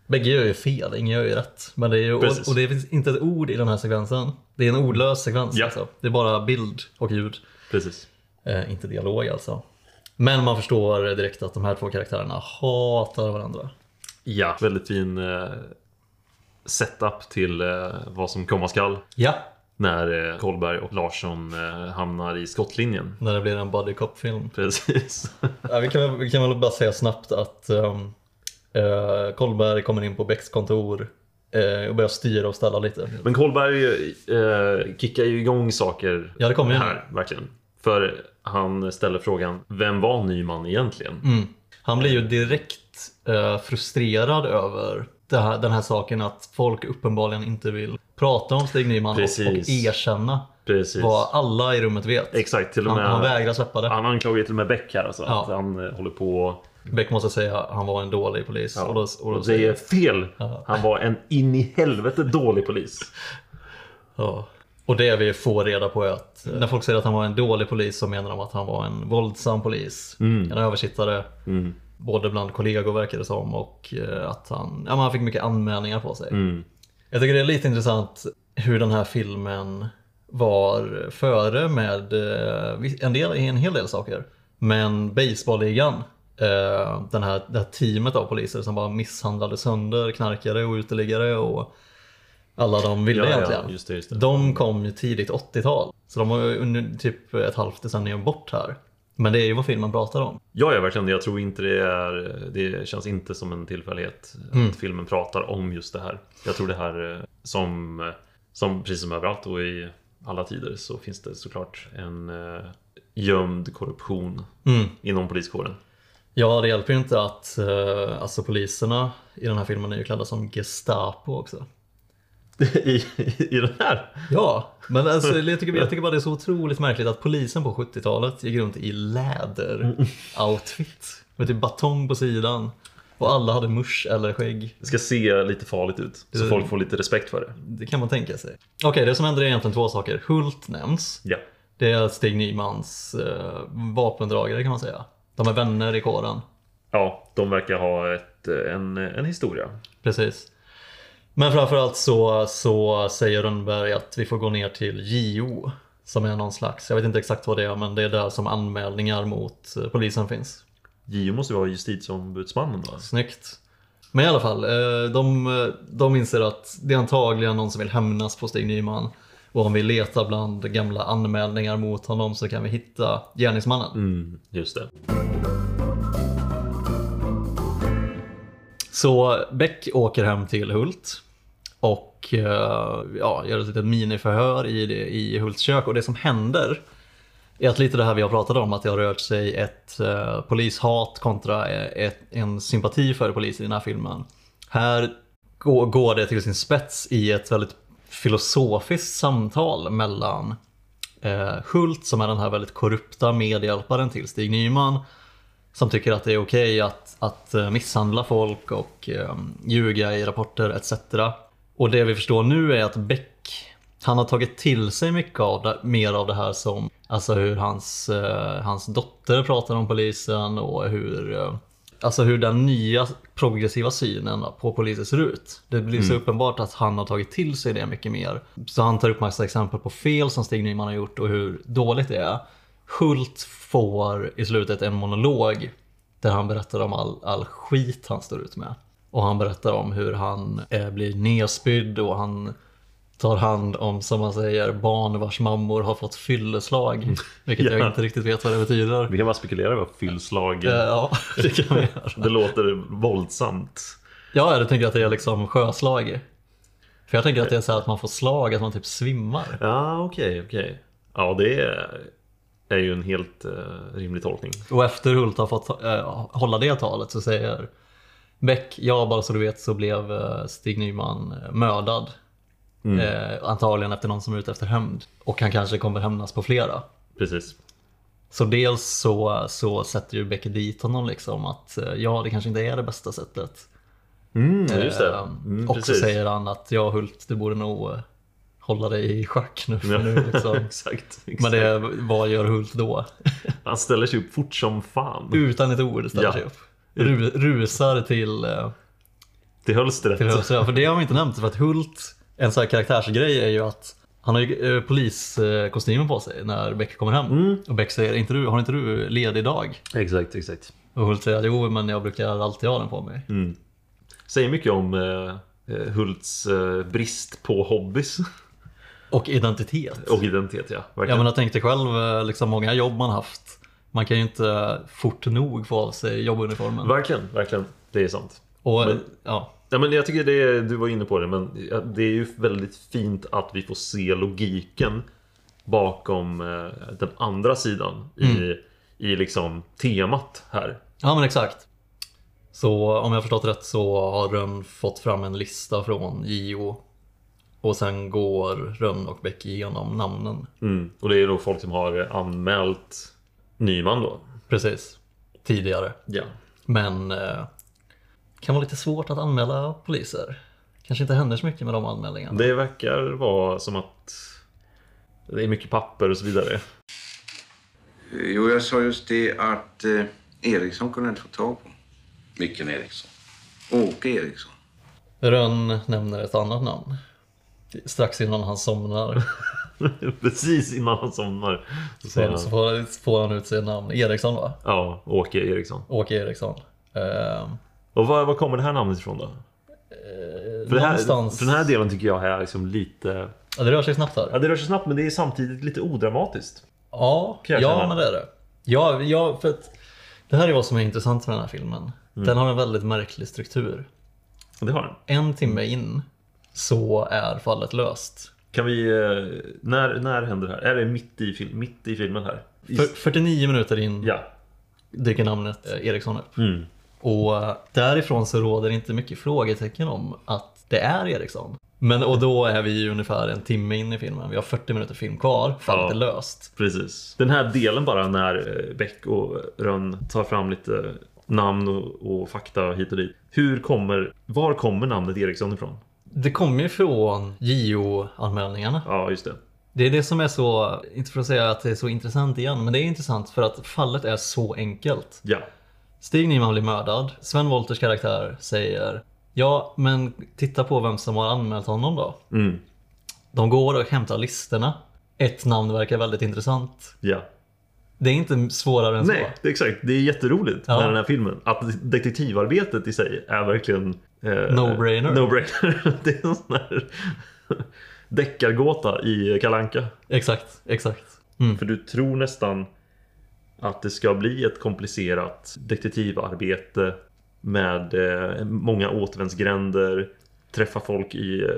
A: Bägge gör ju fel, ingen gör ju rätt. Men det är ju, och,
B: Precis.
A: och det finns inte ett ord i den här sekvensen. Det är en ordlös sekvens.
B: Ja.
A: Alltså. Det är bara bild och ljud.
B: precis.
A: Eh, inte dialog alltså. Men man förstår direkt att de här två karaktärerna hatar varandra.
B: Ja, väldigt fin eh, setup till eh, vad som komma skall.
A: Ja.
B: När eh, Kolberg och Larsson eh, hamnar i skottlinjen.
A: När det blir en buddy cop-film.
B: Precis.
A: Ja, vi, kan, väl- vi kan väl bara säga snabbt att um, eh, Kolberg kommer in på Becks kontor eh, och börjar styra och ställa lite.
B: Men Kolberg eh, kickar ju igång saker
A: Ja, det kommer ju nu.
B: här, verkligen. För han ställer frågan, vem var Nyman egentligen?
A: Mm. Han blir ju direkt eh, frustrerad över det här, den här saken att folk uppenbarligen inte vill prata om Stig Nyman och, och
B: Precis.
A: erkänna
B: Precis.
A: vad alla i rummet vet.
B: Exakt, till och
A: Han,
B: med.
A: han vägrar släppa det.
B: han anklagar ju till och med Beck här alltså,
A: Ja.
B: att han eh, håller på
A: Beck måste säga att han var en dålig polis. Och då, och då
B: och det är
A: säger,
B: fel! Han var en in i helvete dålig polis.
A: ja. och det vi får reda på är att eh, när folk säger att han var en dålig polis så menar de att han var en våldsam polis.
B: Mm.
A: En översittare. Både bland kollegor verkar det som och eh, att han, ja, men han fick mycket anmälningar på sig.
B: Mm.
A: Jag tycker det är lite intressant hur den här filmen var före med eh, vi- en, del, en hel del saker. Men baseballligan, eh, den här, det här teamet av poliser som bara misshandlade sönder knarkare och uteliggare och alla de ville
B: Ja, ja,
A: egentligen.
B: just det, just det.
A: Typ. De kom ju tidigt 80-tal. Så de var ju under typ ett halvt decennium bort här. Men det är ju vad filmen pratar om.
B: Ja, ja, verkligen. Jag tror inte det är... Det känns inte som en tillfällighet att filmen pratar om just det här. Jag tror det här eh, som, som precis som överallt och i alla tider så finns det såklart en eh, gömd korruption inom poliskåren.
A: Mm. Ja, det hjälper ju inte att eh, alltså poliserna i den här filmen är ju klädda som Gestapo också.
B: I, I den här?
A: Ja, men alltså, jag, tycker, jag tycker bara det är så otroligt märkligt att polisen på 70-talet gick runt i läder-outfit. Med typ batong på sidan. Och alla hade musch eller skägg.
B: Det ska se lite farligt ut så
A: Eh.
B: folk får lite respekt för det.
A: Det kan man tänka sig. Okej, det som händer är egentligen två saker. Hult nämns.
B: Ja.
A: Det är Stig Nymans eh, vapendragare kan man säga. De är vänner i kåren.
B: Ja, de verkar ha ett, eh, en, en historia.
A: Precis. Men framförallt så, så säger Rönnberg att vi får gå ner till JO. Som är någon slags, jag vet inte exakt vad det är, men det är där som anmälningar mot eh, polisen finns.
B: JO måste ju vara justitieombudsmannen då? alltså.
A: Snyggt. Men i alla fall, eh, de, de inser att det är antagligen någon som vill hämnas på Stig Nyman. Och om vi letar bland gamla anmälningar mot honom så kan vi hitta gärningsmannen.
B: Mm, just det.
A: Så Beck åker hem till Hult och eh, ja, gör ett litet miniförhör i, det, i Hults kök. Och det som händer är att lite det här vi har pratat om, att det har rört sig ett eh, polishat kontra eh, ett, en sympati för polis i den här filmen. Här går, går det till sin spets i ett väldigt filosofiskt samtal mellan eh, Hult, som är den här väldigt korrupta medhjälparen till Stig Nyman, som tycker att det är okej att, att eh, misshandla folk och eh, ljuga i rapporter etc. Och det vi förstår nu är att Beck, han har tagit till sig mycket av det, mer av det här som, alltså hur hans, eh, hans dotter pratar om polisen och hur, eh, alltså hur den nya progressiva synen på poliser ser ut. Det blir
B: Mm.
A: så uppenbart att han har tagit till sig det mycket mer. Så han tar upp massa exempel på fel som Stig Nyman har gjort och hur dåligt det är. Hult får i slutet en monolog där han berättar om all, all skit han står ut med. Och han berättar om hur han eh, blir nedspydd och han tar hand om, som man säger, barn vars mammor har fått fylleslag. Vilket
B: Mm. Ja.
A: jag inte riktigt vet vad det betyder.
B: Vi kan bara spekulera vad fyllslag...
A: Eh, ja, det kan vi göra.
B: Det låter våldsamt.
A: Ja, du tänker att det är liksom sjöslag? För jag tänker att det är så här att man får slag, att man typ svimmar.
B: Ja, okej, okej. Ja, det är, är ju en helt eh, rimlig tolkning.
A: Och efter Hult har fått eh, hålla det talet så säger Beck, ja bara så du vet så blev eh, Stig Nyman eh, mördad.
B: Mm.
A: Eh, antagligen efter någon som är ute efter hämnd. Och han kanske kommer hämnas på flera.
B: Precis.
A: Så dels så, så sätter ju Beck dit honom liksom att eh, ja, det kanske inte är det bästa sättet.
B: Mm, just det.
A: Eh,
B: Mm,
A: och så
B: precis.
A: säger han att ja Hult, du borde nog eh, hålla dig i schack nu. För
B: Ja,
A: nu liksom.
B: exakt. exakt.
A: Men det, är, vad gör Hult då?
B: Han ställer sig upp fort som fan.
A: Utan ett ord ställer
B: Ja.
A: sig upp. Ru, rusar till, eh,
B: Till hölstret.
A: till Hölsö. För det har vi inte nämnt. För att Hult, en sån här karaktärsgrej är ju att han har ju eh, poliskostymen på sig när Beck kommer hem.
B: Mm.
A: Och Beck säger, inte du, har inte du ledig dag?
B: Exakt, exakt.
A: Och Hult säger, jo men jag brukar alltid ha den på mig.
B: Mm. Säger mycket om eh, eh, Hults eh, brist på hobbys
A: Och identitet.
B: och identitet, ja.
A: Jag
B: Verkligen.
A: menar tänk dig själv eh, liksom många jobb man haft. Man kan ju inte fort nog få av sig jobbuniformen.
B: verkligen, verkligen. Det är sant.
A: Och,
B: Men-
A: ja.
B: Ja, men jag tycker det, är- du var inne på det, men det är ju väldigt fint att vi får se logiken bakom eh, den andra sidan
A: Mm.
B: i, i liksom temat här.
A: Ja men exakt. Så om jag har förstått rätt så har Rönn fått fram en lista från JO. Och sen går Rönn och Beck igenom namnen.
B: Mm. Och det är då folk som har anmält Nyman då.
A: Precis. Tidigare.
B: Ja.
A: Men eh, kan vara lite svårt att anmäla poliser. Kanske inte händer så mycket med de anmälningarna.
B: Det verkar vara som att det är mycket papper och så vidare.
E: Eh, Jo, jag sa just det att eh, Eriksson kunde jag inte få tag på.
F: Vilken Eriksson?
E: Åke Eriksson.
A: Rönn nämner ett annat namn. Strax innan han somnar.
B: Precis innan han somnar. Så säger
A: Så, så
B: han,
A: får, så får han ut sitt namn. Eriksson va?
B: ja, Åke Eriksson.
A: Åke Eriksson. Ehm,
B: Och var, var kommer det här namnet ifrån då? För, det här,
A: någonstans...
B: för den här delen tycker jag är liksom lite...
A: ja, det rör sig snabbt här.
B: Ja, det rör sig snabbt men det är samtidigt lite odramatiskt.
A: Ja,
B: Kan jag
A: ja
B: känna.
A: men det är det. Ja, ja, för att det här är vad som är intressant med den här filmen.
B: Mm.
A: Den har en väldigt märklig struktur.
B: Och Det har den.
A: En timme
B: Mm.
A: in så är fallet löst.
B: Kan vi... eh, När, när händer det här? Är det mitt i, fil, mitt i filmen här? I,
A: För, 49 minuter in
B: ja.
A: dyker namnet eh, Eriksson upp.
B: Mm.
A: Och eh, därifrån så råder inte mycket frågetecken om att det är Eriksson. Men och då är vi ju ungefär en timme in i filmen. Vi har 40 minuter film kvar. Fallet
B: Ja.
A: är löst.
B: Precis. Den här delen bara när eh, Beck och Rönn tar fram lite namn och, och fakta hit och dit. Hur kommer... Var kommer namnet Eriksson ifrån?
A: Det kommer ju från JO-anmälningarna.
B: Ja, just det.
A: Det är det som är så, inte för att säga att det är så intressant igen, men det är intressant för att fallet är så enkelt.
B: Ja.
A: Stig Nyman blir mördad. Sven Wolters karaktär säger Ja, men titta på vem som har anmält honom då.
B: Mm.
A: De går och hämtar listorna. Ett namn verkar väldigt intressant.
B: Ja.
A: Det är inte svårare än
B: Nej,
A: så.
B: det är exakt. Det är jätteroligt
A: Alltså, Ja.
B: med den här filmen. Att detektivarbetet i sig är verkligen... Eh,
A: No-brainer.
B: No-brainer. Det är en sån här deckargåta i Kalanka.
A: Exakt, exakt.
B: För du tror nästan att det ska bli ett komplicerat detektivarbete med eh, många återvändsgränder, träffa folk i, eh,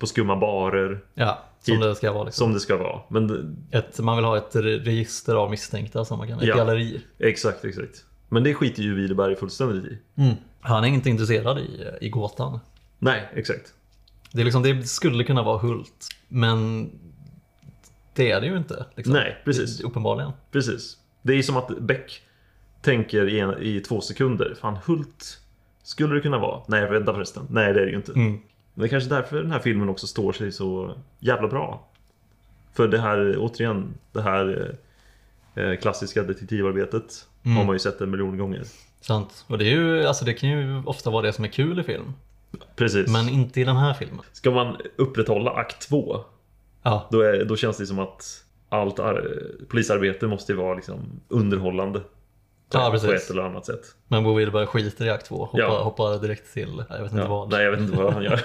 B: på skumma barer,
A: Ja, som
B: Hit-
A: det ska vara. Liksom.
B: som det ska vara. Men det-
A: Ett, man vill ha ett re- register av misstänkta som man kan, ett
B: Ja.
A: galleri.
B: Exakt, exakt. Men det skiter ju Widerberg fullständigt i.
A: Han är inte intresserad i, i gåtan.
B: Nej, exakt.
A: Det, är liksom, det skulle kunna vara Hult, men det är det ju inte. Liksom.
B: Nej, precis.
A: Uppenbarligen.
B: Precis. Det är ju som att Beck tänker i, en, i två sekunder. Fan, Hult skulle det kunna vara. Nej, vänta förresten. Nej, det är det ju inte.
A: Mm.
B: Men det är kanske därför den här filmen också står sig så jävla bra. För det här, återigen, det här eh, klassiska detektivarbetet
A: Mm.
B: har man ju sett en miljon gånger.
A: Sant. Och det, är ju, alltså det kan ju ofta vara det som är kul i film,
B: Precis.
A: men inte i den här filmen.
B: Ska man upprätthålla akt 2
A: Ja,
B: då, är, då känns det som att allt ar- polisarbete måste ju vara liksom underhållande. På,
A: Ja,
B: på
A: precis.
B: ett eller annat sätt.
A: men Bo Widerberg skiter i akt två. Hoppar,
B: Ja.
A: hoppar direkt till, jag vet inte
B: Ja.
A: vad.
B: Nej, jag vet inte vad han gör.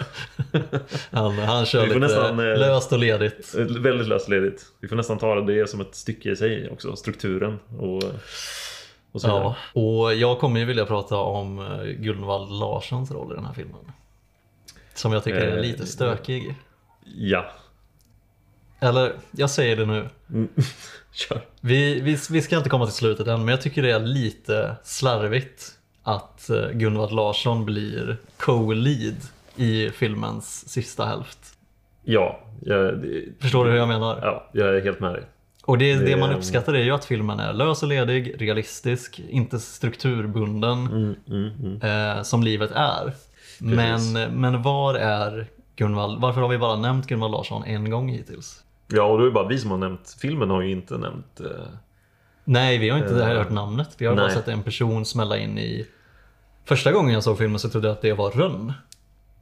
A: Han, han kör
B: Vi får
A: lite
B: nästan, eh,
A: löst och ledigt.
B: Väldigt lösledigt. Vi får nästan ta det som ett stycke i sig också, strukturen och, och så vidare.
A: Ja. Och jag kommer ju vilja prata om eh, Gunvald Larssons roll i den här filmen. Som jag tycker är
B: Eh,
A: lite stökig.
B: Ja,
A: Eller, jag säger det nu.
B: kör.
A: Vi, vi, vi ska inte komma till slutet än, men jag tycker det är lite slarvigt att eh, Gunvald Larsson blir co-lead i filmens sista hälft.
B: Ja, jag, det-
A: Förstår du hur jag menar?
B: ja, jag är helt med dig.
A: Och det, det
B: Det-
A: man uppskattar är ju att filmen är lös och ledig, realistisk, inte strukturbunden
B: Mm,
A: Eh, som livet är. Men,
B: Precis.
A: men var är Gunvald? Varför har vi bara nämnt Gunvald Larsson en gång hittills?
B: Ja, och då är det bara vi som har nämnt filmen har ju inte nämnt... eh,
A: Nej, vi har inte
B: Eh,
A: hört namnet. Vi har bara
B: nej.
A: sett en person smälla in i... Första gången jag såg filmen så trodde jag att det var Rönn.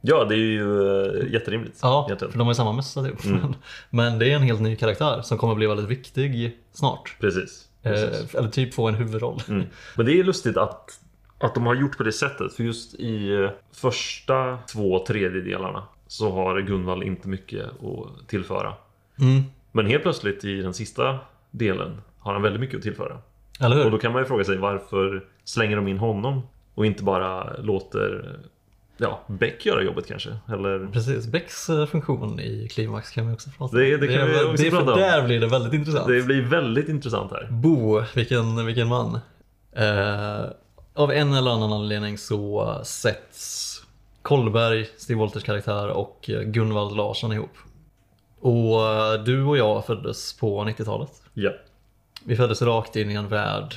B: Ja, det är ju eh, jätterimligt.
A: Ja,
B: egentligen.
A: för de har ju samma mössa typ.
B: Mm.
A: Men det är en helt ny karaktär som kommer bli väldigt viktig snart.
B: Precis. Precis. Mm.
A: Eh, eller typ få en huvudroll.
B: Men det är lustigt att, att de har gjort på det sättet. För just i eh, första två tredjedelarna så har Gunvald inte mycket att tillföra.
A: Mm.
B: Men helt plötsligt i den sista delen har han väldigt mycket att tillföra.
A: Eller
B: Och
A: hur?
B: då kan man ju fråga sig varför slänger de in honom och inte bara låter eh, ja, Beck göra jobbet kanske? Eller...
A: Precis, Becks eh, funktion i Klimax kan vi också prata om.
B: Det- det kan vi
A: är-
B: också
A: det är
B: prata
A: för
B: om.
A: där blir det väldigt intressant.
B: Det blir väldigt intressant här.
A: Bo, vilken, vilken man. Eh, av en eller annan anledning så sätts Kollberg, Stig Wolters karaktär och Gunvald Larsson ihop. Och eh, du och jag föddes på 90-talet.
B: Ja.
A: Vi föddes rakt in i en värld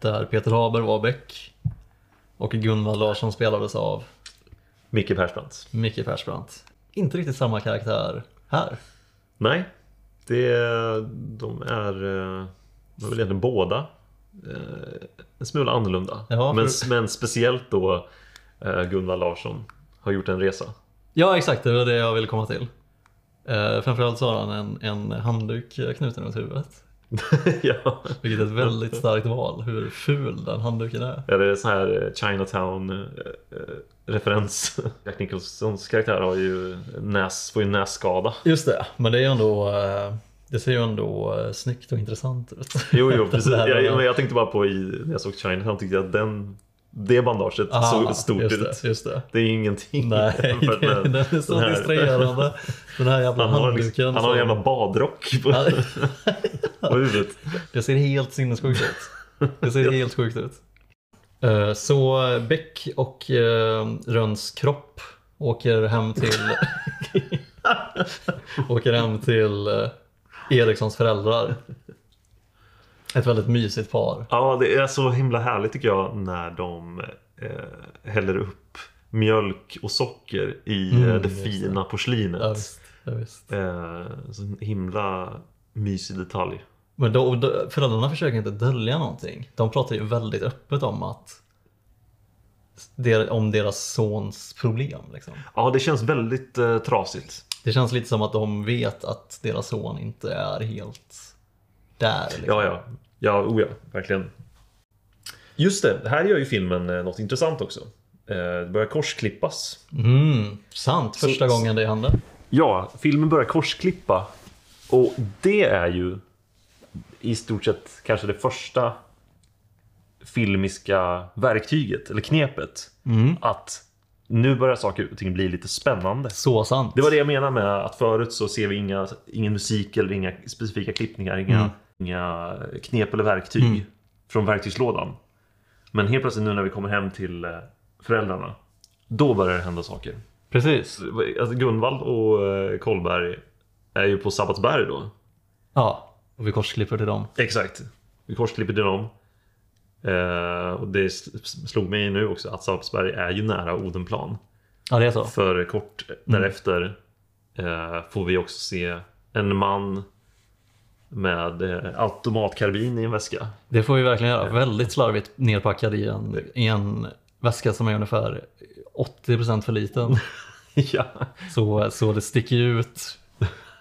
A: där Peter Haber var Beck och Gunvald Larsson spelades av
B: Micke Persbrandt.
A: Micke Persbrandt. Inte riktigt samma karaktär här.
B: Nej, det, de är eh, de är väl egentligen båda eh, en smula annorlunda.
A: Ja,
B: men,
A: för-
B: men speciellt då eh, Gunvald Larsson har gjort en resa.
A: Ja exakt, det var det jag ville komma till. Eh, framförallt så har han en, en handduk knuten runt huvudet.
B: ja.
A: Vilket är ett väldigt starkt val, hur ful den handduken är.
B: Är det så här eh, Chinatown-referens? Jack Nicholsons karaktär har ju näs, får ju nässkada.
A: Just det, men det är ju ändå eh, det ser ju ändå eh, snyggt och intressant ut.
B: Jo, jo,
A: Den
B: precis.
A: där-
B: Jag, men jag tänkte bara på i, när jag såg Chinatown, tyckte jag att den, det bandaget
A: Ah,
B: såg stort
A: just
B: ut.
A: det, Just det.
B: Det är ju ingenting
A: Nej,
B: jämfört med
A: den är så
B: här.
A: distraherande. Den här jävla
B: Han har,
A: handduken.
B: liksom, han har en
A: som-
B: jävla badrock på, på huvudet.
A: Det ser helt sinnessjukt ut. Det ser helt sjukt ut. Eh, Så Beck och eh, Rönns kropp åker hem till åker hem till eh, Erikssons föräldrar. Ett väldigt mysigt par.
B: Ja, det är så himla härligt tycker jag när de eh, häller upp mjölk och socker i eh, det fina porslinet.
A: Ja, visst, ja, visst.
B: Eh, så en himla mysig detalj.
A: Men då, då, föräldrarna försöker inte dölja någonting. De pratar ju väldigt öppet om att der- om deras sons problem. Liksom.
B: Ja, det känns väldigt eh, trasigt.
A: Det känns lite som att de vet att deras son inte är helt där. Liksom.
B: Ja, ja. Ja, oh ja, verkligen. Just det, här gör ju filmen eh, något intressant också. Eh, det börjar korsklippas.
A: Mm, sant, första
B: Så-
A: gången det hände.
B: Ja, filmen börjar korsklippa. Och det är ju i stort sett kanske det första filmiska verktyget, eller knepet. Att nu börjar saker och ting bli lite spännande.
A: Så sant.
B: Det var det jag menade med att förut så ser vi inga, ingen musik eller inga specifika klippningar, inga, inga knep eller verktyg från verktygslådan. Men helt plötsligt nu när vi kommer hem till eh, föräldrarna, då börjar det hända saker.
A: Precis.
B: Alltså Gunvald och eh, Kolberg är ju på Sabbatsberg då.
A: Ja, och vi korsklipper till dem.
B: Exakt. Vi korsklipper till dem. Eh, och det s- slog mig nu också att Sabbatsberg är ju nära Odenplan.
A: Ja, det är så.
B: För kort därefter eh, får vi också se en man med eh, automatkarbin i en väska.
A: Det får vi verkligen göra. Väldigt slarvigt nerpackad i en, i en väska som är ungefär 80% för liten.
B: ja.
A: Så, så det sticker ju ut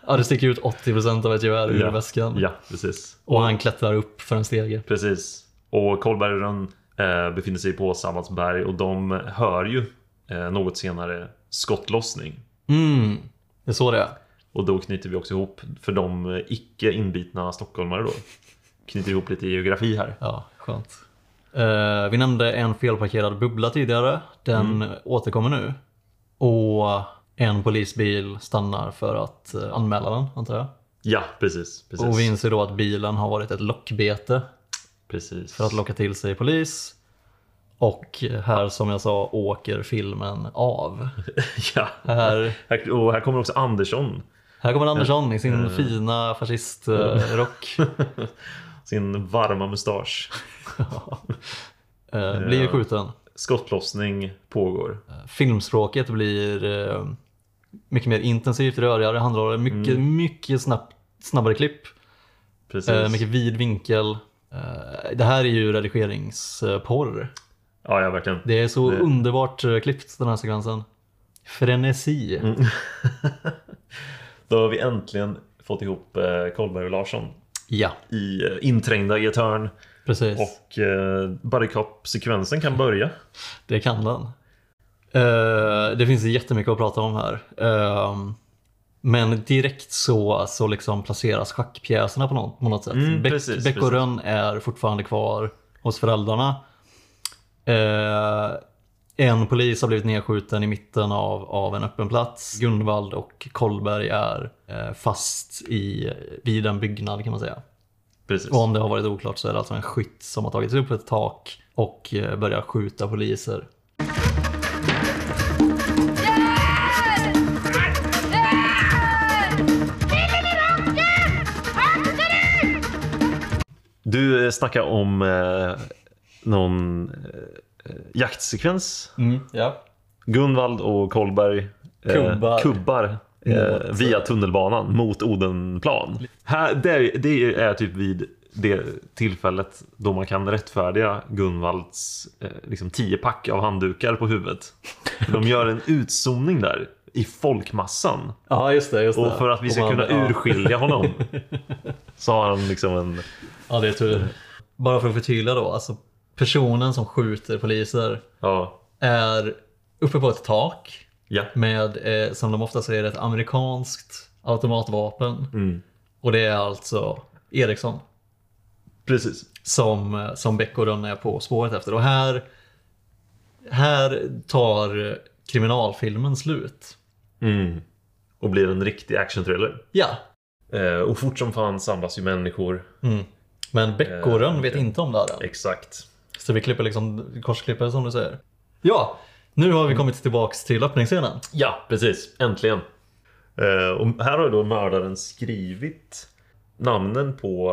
A: Ja det sticker ut 80% av ett gevär ur
B: ja.
A: väskan.
B: Ja, precis.
A: Och han klättrar upp för en stege.
B: Precis. Och Kolberg och Rönn eh, befinner sig på Sabbatsberg och de hör ju eh, något senare skottlossning.
A: Mm, det är så det är.
B: Och då knyter vi också ihop, för de eh, icke inbitna stockholmare då, knyter ihop lite geografi här.
A: Ja, skönt. Eh, vi nämnde en felparkerad bubbla tidigare. Den återkommer nu. Och en polisbil stannar för att eh, anmäla den, antar jag.
B: Ja, precis. precis.
A: Och vi inser då att bilen har varit ett lockbete
B: precis.
A: för att locka till sig polis. Och här, som jag sa, åker filmen av.
B: ja.
A: Här
B: Här- Och här kommer också Andersson
A: Här kommer Andersson i sin fina fascistrock.
B: sin varma mustasch.
A: Eh, blir skjuten.
B: Skottlossning pågår.
A: Filmspråket blir eh, mycket mer intensivt, rörigare, handlar om mycket, mycket snabb, snabbare klipp.
B: Mm. Precis.
A: Eh, mycket vid vinkel. Eh, det här är ju redigeringsporr.
B: Ja, ja, verkligen.
A: Det är så underbart eh, klippt den här sekvensen. Frenesi.
B: Mm. Då har vi äntligen fått ihop eh, Kolberg och Larsson
A: Ja,
B: i, eh, inträngda i ett hörn.
A: precis.
B: Och eh, bodycop-sekvensen kan börja.
A: Det kan den. Eh, det finns jättemycket att prata om här. Ehm, men direkt så, så liksom placeras schackpjäserna på något, på något sätt.
B: Mm,
A: Beck,
B: precis,
A: Beck och
B: precis.
A: Rönn är fortfarande kvar hos föräldrarna. Eh, en polis har blivit nedskjuten i mitten av, av en öppen plats. Gunvald och Kolberg är eh, fast i, vid en byggnad kan man säga.
B: Precis.
A: Och om det har varit oklart så är det alltså en skytt som har tagit sig upp på ett tak och eh, börjar skjuta poliser.
B: Du eh, snackar om eh, någon eh, jaktsekvens.
A: ja.
B: Gunvald och Kolberg eh,
A: Kubbar.
B: kubbar eh, via tunnelbanan mot Odenplan. Här, det, är, det är typ vid det tillfället då man kan rättfärdiga Gunvalds eh, liksom tiopack av handdukar på huvudet. De gör en utzoomning där i folkmassan.
A: Ja, just det. Just det.
B: Och för att vi ska
A: man-
B: kunna
A: ja.
B: urskilja honom så har han liksom en...
A: Ja, det är tur. Bara för att förtydliga då. Alltså, personen som skjuter poliser
B: Ja.
A: är uppe på ett tak
B: Ja.
A: med, eh, som de ofta säger, ett amerikanskt automatvapen.
B: Mm.
A: Och det är alltså Eriksson
B: Precis.
A: som, eh, som Beckorun är på spåret efter. Och här, här tar eh, kriminalfilmen slut.
B: Mm. Och blir en riktig actionthriller.
A: Ja,
B: Eh, och fort som fan samlas ju människor.
A: men Beckorun
B: Eh,
A: vet inte om det här än.
B: Exakt.
A: Så vi klipper liksom korsklipper som du säger. Ja, nu har vi kommit tillbaks till öppningsscenen.
B: Ja, precis. Äntligen. Eh, och här har då mördaren skrivit namnen på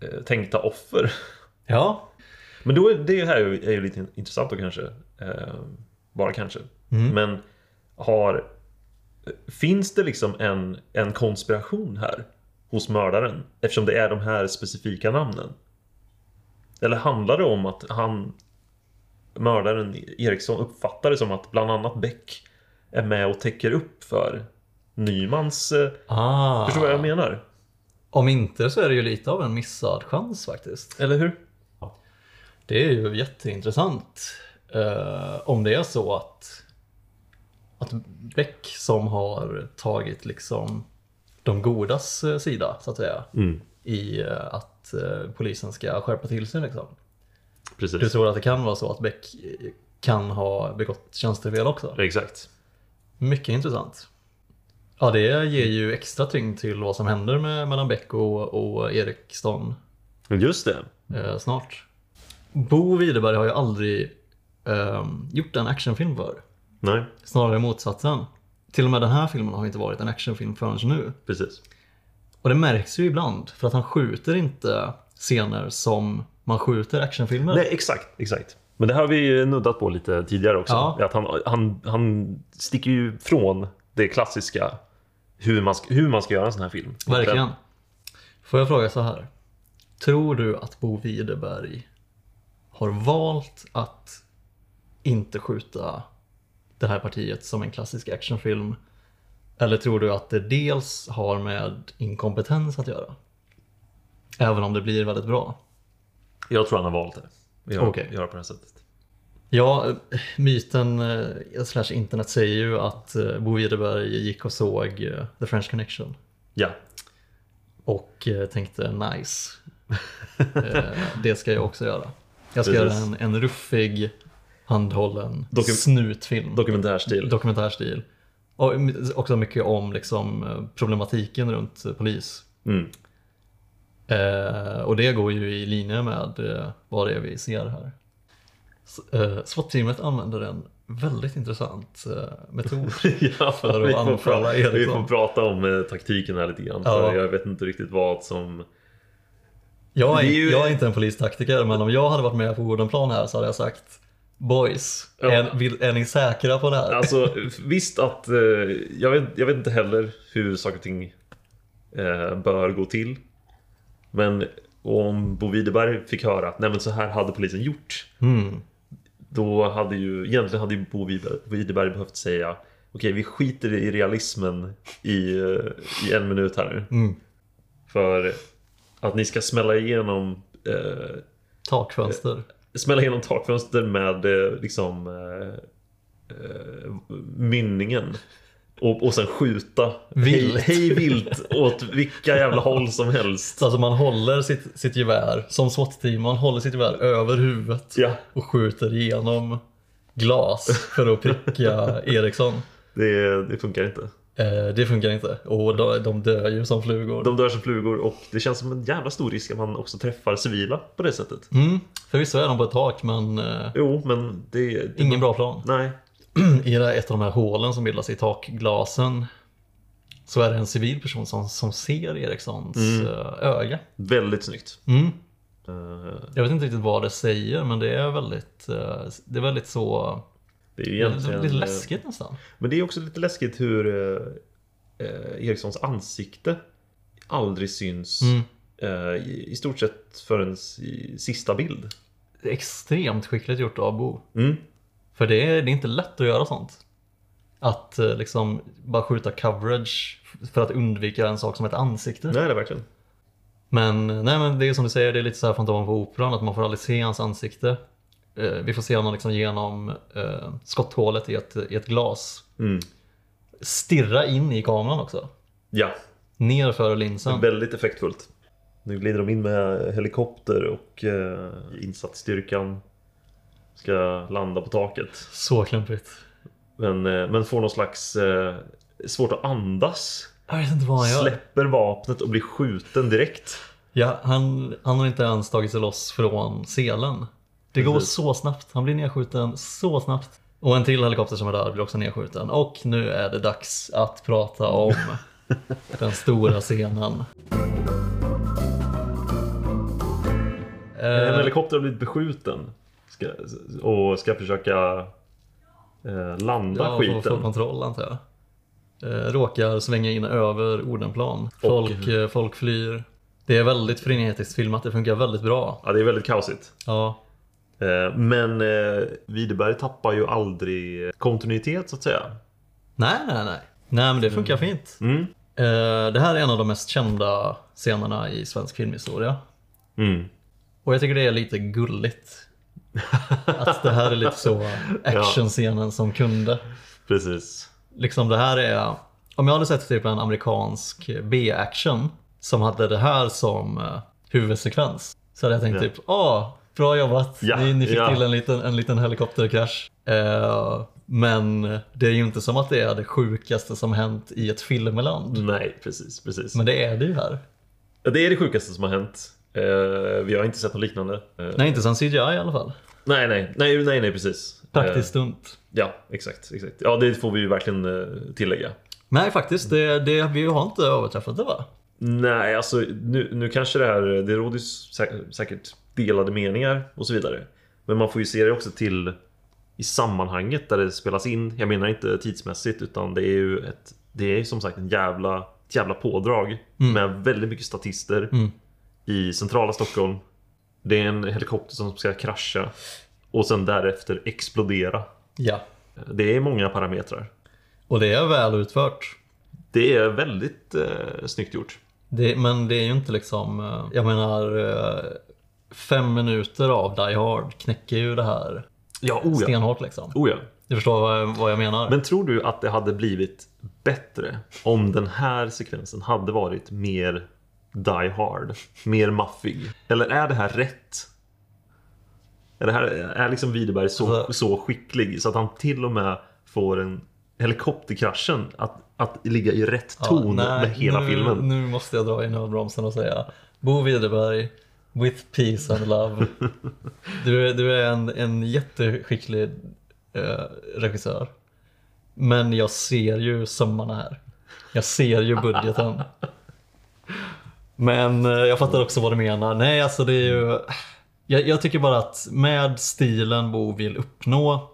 B: eh, tänkta offer.
A: Ja.
B: Men då är det här ju- är ju lite intressant då kanske. Eh, bara kanske. Men har... Finns det liksom en, en konspiration här hos mördaren? Eftersom det är de här specifika namnen. Eller handlar det om att han... Mördaren Eriksson uppfattar det som att bland annat Beck är med och täcker upp för Nymans... eh,
A: Ah.
B: Förstår du vad jag menar?
A: Om inte så är det ju lite av en missad chans faktiskt.
B: Eller hur?
A: Det är ju jätteintressant. eh, om det är så att, att Beck som har tagit liksom de godas eh, sida så att säga.
B: Mm.
A: I eh, att eh, polisen ska skärpa till sig liksom. Du
B: Precis.
A: tror att det kan vara så att Beck eh, kan ha begått tjänstefel också?
B: Exakt.
A: Mycket intressant. Ja, det ger ju extra tyngd till vad som händer med, mellan Beck och, och Eriksson
B: Just det.
A: eh, snart. Bo Widerberg har ju aldrig ehm, gjort en actionfilm förr.
B: Nej,
A: Snarare motsatsen. Till och med den här filmen har inte varit en actionfilm förrän nu.
B: precis.
A: Och det märks ju ibland, för att han skjuter inte scener som man skjuter actionfilmer.
B: Nej, exakt, exakt. Men det här har vi nuddat på lite tidigare också.
A: Ja.
B: Att han, han, han sticker ju från det klassiska hur man, ska, hur man ska göra en sån här film.
A: Verkligen. Får jag fråga så här. Tror du att Bo Widerberg har valt att inte skjuta det här partiet som en klassisk actionfilm? Eller tror du att det dels har med inkompetens att göra? Även om det blir väldigt bra.
B: Jag tror han har valt det. Gör,
A: Okej.
B: Göra på det här sättet.
A: Ja, eh, myten eh, slash internet säger ju att eh, Bo Widerberg gick och såg eh, The French Connection.
B: Ja,
A: Och eh, tänkte nice. eh, det ska jag också göra. Jag ska göra
B: Precis.
A: en, en ruffig, handhållen
B: Dokum-
A: snutfilm.
B: dokumentärstil.
A: Dokumentärstil. Och m- också mycket om liksom, eh, problematiken runt eh, polis.
B: Mm.
A: Eh, och det går ju i linje med eh, vad det är vi ser här. S- eh, SWAT-teamet använder en väldigt intressant eh, metod.
B: Ja,
A: För att
B: vi, får
A: anfalla
B: prata, vi
A: Eriksson.
B: får prata om eh, taktiken här lite grann.
A: Ja.
B: För jag vet inte riktigt vad som...
A: Jag är,
B: Det är ju-
A: jag är inte en polistaktiker, men om jag hade varit med på Odenplan här så hade jag sagt Boys,
B: Ja.
A: är, vill, är ni säkra på det här?
B: Alltså visst att... Eh, jag, vet, jag vet inte heller hur saker och ting eh, bör gå till. Men om Bo Widerberg fick höra att Nej, men så här hade polisen gjort. Då hade ju egentligen hade ju Bo Widerberg- Widerberg behövt säga Okej, vi skiter i realismen i, eh, i en minut här nu. För att ni ska smälla igenom eh,
A: Takfönster.
B: smälla igenom takfönster med eh, liksom eh, eh, mynningen. Och, och sen skjuta
A: Vilt.
B: Hej, hej vilt åt vilka jävla håll som helst.
A: Så alltså man håller sitt, sitt gevär, som SWAT-team, man håller sitt gevär över huvudet
B: Ja,
A: och skjuter igenom glas för att pricka Eriksson.
B: det, det funkar inte.
A: Eh, det funkar inte. Och de, de dör ju som flugor.
B: De dör som flugor och det känns som en jävla stor risk att man också träffar civila på det sättet.
A: Mm, förvisso är de på ett tak, men eh,
B: Jo, men det... det
A: ingen bra plan.
B: Nej.
A: i det här- ett av de här hålen som bildas i takglasen så är det en civil person som, som ser Erikssons
B: Mm.
A: eh, öga.
B: Väldigt snyggt.
A: Mm.
B: Eh,
A: Jag vet inte riktigt vad det säger men det är väldigt, eh, det är väldigt så,
B: Det är ju
A: det är
B: egentligen... eh,
A: lite läskigt nästan.
B: Men det är också lite läskigt hur eh, eh, Erikssons ansikte aldrig syns
A: Mm.
B: eh, i, i stort sett förrän i sista
A: Mm.
B: bild.
A: Det är extremt skickligt gjort av Bo.
B: Mm.
A: För det är, det är inte lätt att göra sånt. Att eh, liksom bara skjuta coverage för att undvika en sak som ett ansikte.
B: Nej, det är verkligen.
A: Men, nej, men det är som du säger, det är lite så här Fantomen på Operan, att man får aldrig se hans ansikte. Eh, vi får se honom liksom genom eh, skotthålet i ett, i ett glas.
B: Mm.
A: Stirra in i kameran också.
B: Ja,
A: Ner för linsen.
B: väldigt effektfullt. Nu glider de in med helikopter och eh, insatsstyrkan ska landa på taket.
A: Så klumpigt.
B: Men, eh, men får någon slags eh, svårt att andas.
A: Jag vet inte vad han gör.
B: Släpper vapnet och blir skjuten direkt.
A: Ja, han, han har inte ens tagit sig loss från selen. Det går
B: Precis.
A: så snabbt. Han blir nedskjuten så snabbt. Och en till helikopter som är där blir också nedskjuten. Och nu är det dags att prata om den stora scenen.
B: En
A: Eh,
B: helikopter har blivit beskjuten ska, och ska försöka eh, landa
A: ja, får, får
B: skiten.
A: kontroll antar jag. Eh, råkar svänga in över Odenplan. Folk, eh, folk flyr. Det är väldigt frenetiskt filmat. Det funkar väldigt bra.
B: Ja, det är väldigt kaosigt.
A: Ja,
B: Eh, Men eh, Widerberg tappar ju aldrig kontinuitet så att säga.
A: Nej, nej, nej. Nej, men det funkar fint.
B: Mm.
A: Eh, det här är en av de mest kända scenerna i svensk filmhistoria.
B: Mm.
A: Och jag tycker det är lite gulligt. Att det här är lite så actionscenen som kunde.
B: Precis.
A: Liksom det här är... Om jag hade sett typ en amerikansk B-action som hade det här som eh, huvudsekvens så hade jag tänkt
B: Ja.
A: typ åh, bra jobbat.
B: Ja,
A: ni, ni fick
B: ja.
A: till en liten, en liten helikopterkrasch. Eh, men det är ju inte som att det är det sjukaste som hänt i ett filmland.
B: Nej, precis. precis.
A: Men det är det ju här.
B: Ja, Det är det sjukaste som har hänt. Eh, Vi har inte sett något liknande. Eh,
A: Nej, inte sen CGI i alla fall.
B: Nej, nej, nej, nej, nej precis.
A: Praktiskt
B: Eh,
A: stunt.
B: Ja, exakt, exakt. Ja, det får vi ju verkligen eh, tillägga.
A: Nej, faktiskt. Det, det, vi har inte överträffat det va?
B: Nej, alltså nu, nu kanske det här, det råder ju sä- säkert delade meningar och så vidare. Men man får ju se det också till i sammanhanget där det spelas in. Jag menar inte tidsmässigt utan det är ju ett, det är ju som sagt en jävla, ett jävla pådrag med väldigt mycket statister i centrala Stockholm. Det är en helikopter som ska krascha och sen därefter explodera.
A: Ja.
B: Det är många parametrar.
A: Och det är väl utfört.
B: Det är väldigt eh, snyggt gjort.
A: Det, men det är ju inte liksom, eh, jag menar, eh, fem minuter av Die Hard knäcker ju det här
B: Ja, oh ja.
A: stenhårt liksom.
B: Oh ja.
A: Du förstår vad jag, vad jag menar?
B: Men tror du att det hade blivit bättre om den här sekvensen hade varit mer Die Hard? Mer maffig? Eller är det här rätt? Är, det här, är liksom Widerberg så,
A: Alltså-
B: så skicklig så att han till och med får en helikopterkraschen att, att ligga i rätt
A: Ja,
B: ton
A: nej,
B: med hela
A: nu,
B: filmen?
A: Nu måste jag dra i nödbromsen och säga Bo Widerberg, with peace and love. Du, är- du är en, en jätteskicklig eh, regissör. Men jag ser ju sömmarna här. Jag ser ju budgeten. Men eh, jag fattar också vad du menar. Nej, alltså det är ju... Jag, jag tycker bara att med stilen Bo vill uppnå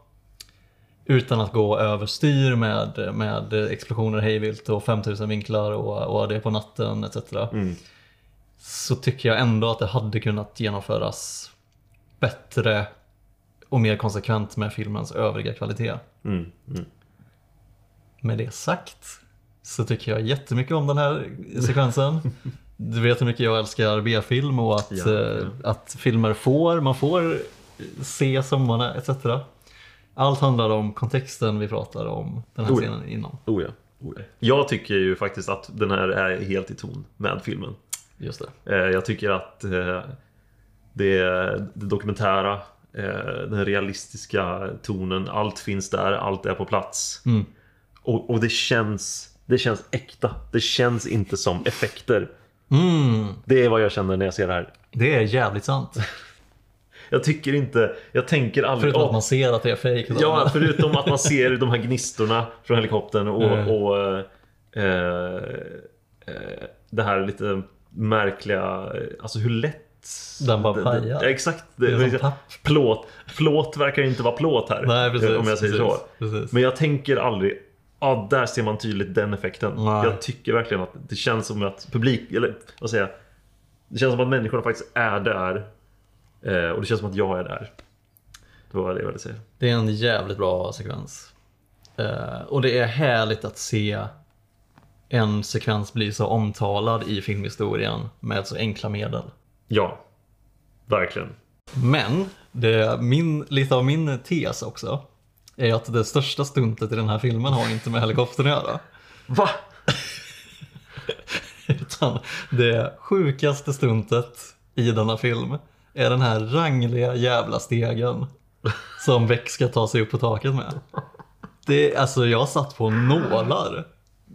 A: utan att gå överstyr med, med explosioner hejvilt och 5000 vinklar och, och det på natten etc.
B: Mm.
A: Så tycker jag ändå att det hade kunnat genomföras bättre och mer konsekvent med filmens övriga kvalitet.
B: Mm,
A: Med det sagt så tycker jag jättemycket om den här sekvensen. Du vet hur mycket jag älskar B-film och att,
B: Ja, ja.
A: eh, att filmer får, man får se sommarna etc. Allt handlar om kontexten vi pratar om den här
B: Oh ja.
A: scenen inom.
B: Oh ja. Oh ja. Jag tycker ju faktiskt att den här är helt i ton med filmen.
A: Just det.
B: Eh, Jag tycker att eh, det, det dokumentära, eh, den realistiska tonen, allt finns där, allt är på plats.
A: Mm.
B: Och, och det, känns, det känns äkta. Det känns inte som effekter.
A: Mm.
B: Det är vad jag känner när jag ser det här.
A: Det är jävligt sant.
B: Jag tycker inte, jag tänker aldrig...
A: Förutom att
B: "Åh,
A: man ser att det är fejk.
B: Ja, förutom att man ser de här gnistorna från helikoptern och,
A: Mm.
B: och eh, eh, eh, det här lite märkliga, eh, alltså hur lätt
A: Den bara
B: det- det-
A: pajar.
B: Ja, exakt.
A: Det är
B: Det,
A: som papp.
B: plåt, plåt verkar inte vara plåt här. eh,
A: Nej, precis,
B: om jag säger
A: precis,
B: så.
A: precis.
B: Men jag tänker aldrig Ja, där ser man tydligt den effekten.
A: Nej.
B: Jag tycker verkligen att det känns som att publik, eller vad säger jag? Det känns som att människorna faktiskt är där. Eh, och det känns som att jag är där. Det var det jag ville säga.
A: Det är en jävligt bra sekvens. Eh, och det är härligt att se en sekvens bli så omtalad i filmhistorien med så enkla medel.
B: Ja, verkligen.
A: Men det är min, lite av min tes också är att det största stuntet i den här filmen har inte med helikoptern att göra.
B: Va?
A: Utan det sjukaste stuntet i denna film är den här rangliga jävla stegen som Beck ska ta sig upp på taket med. Det, alltså jag satt på nålar.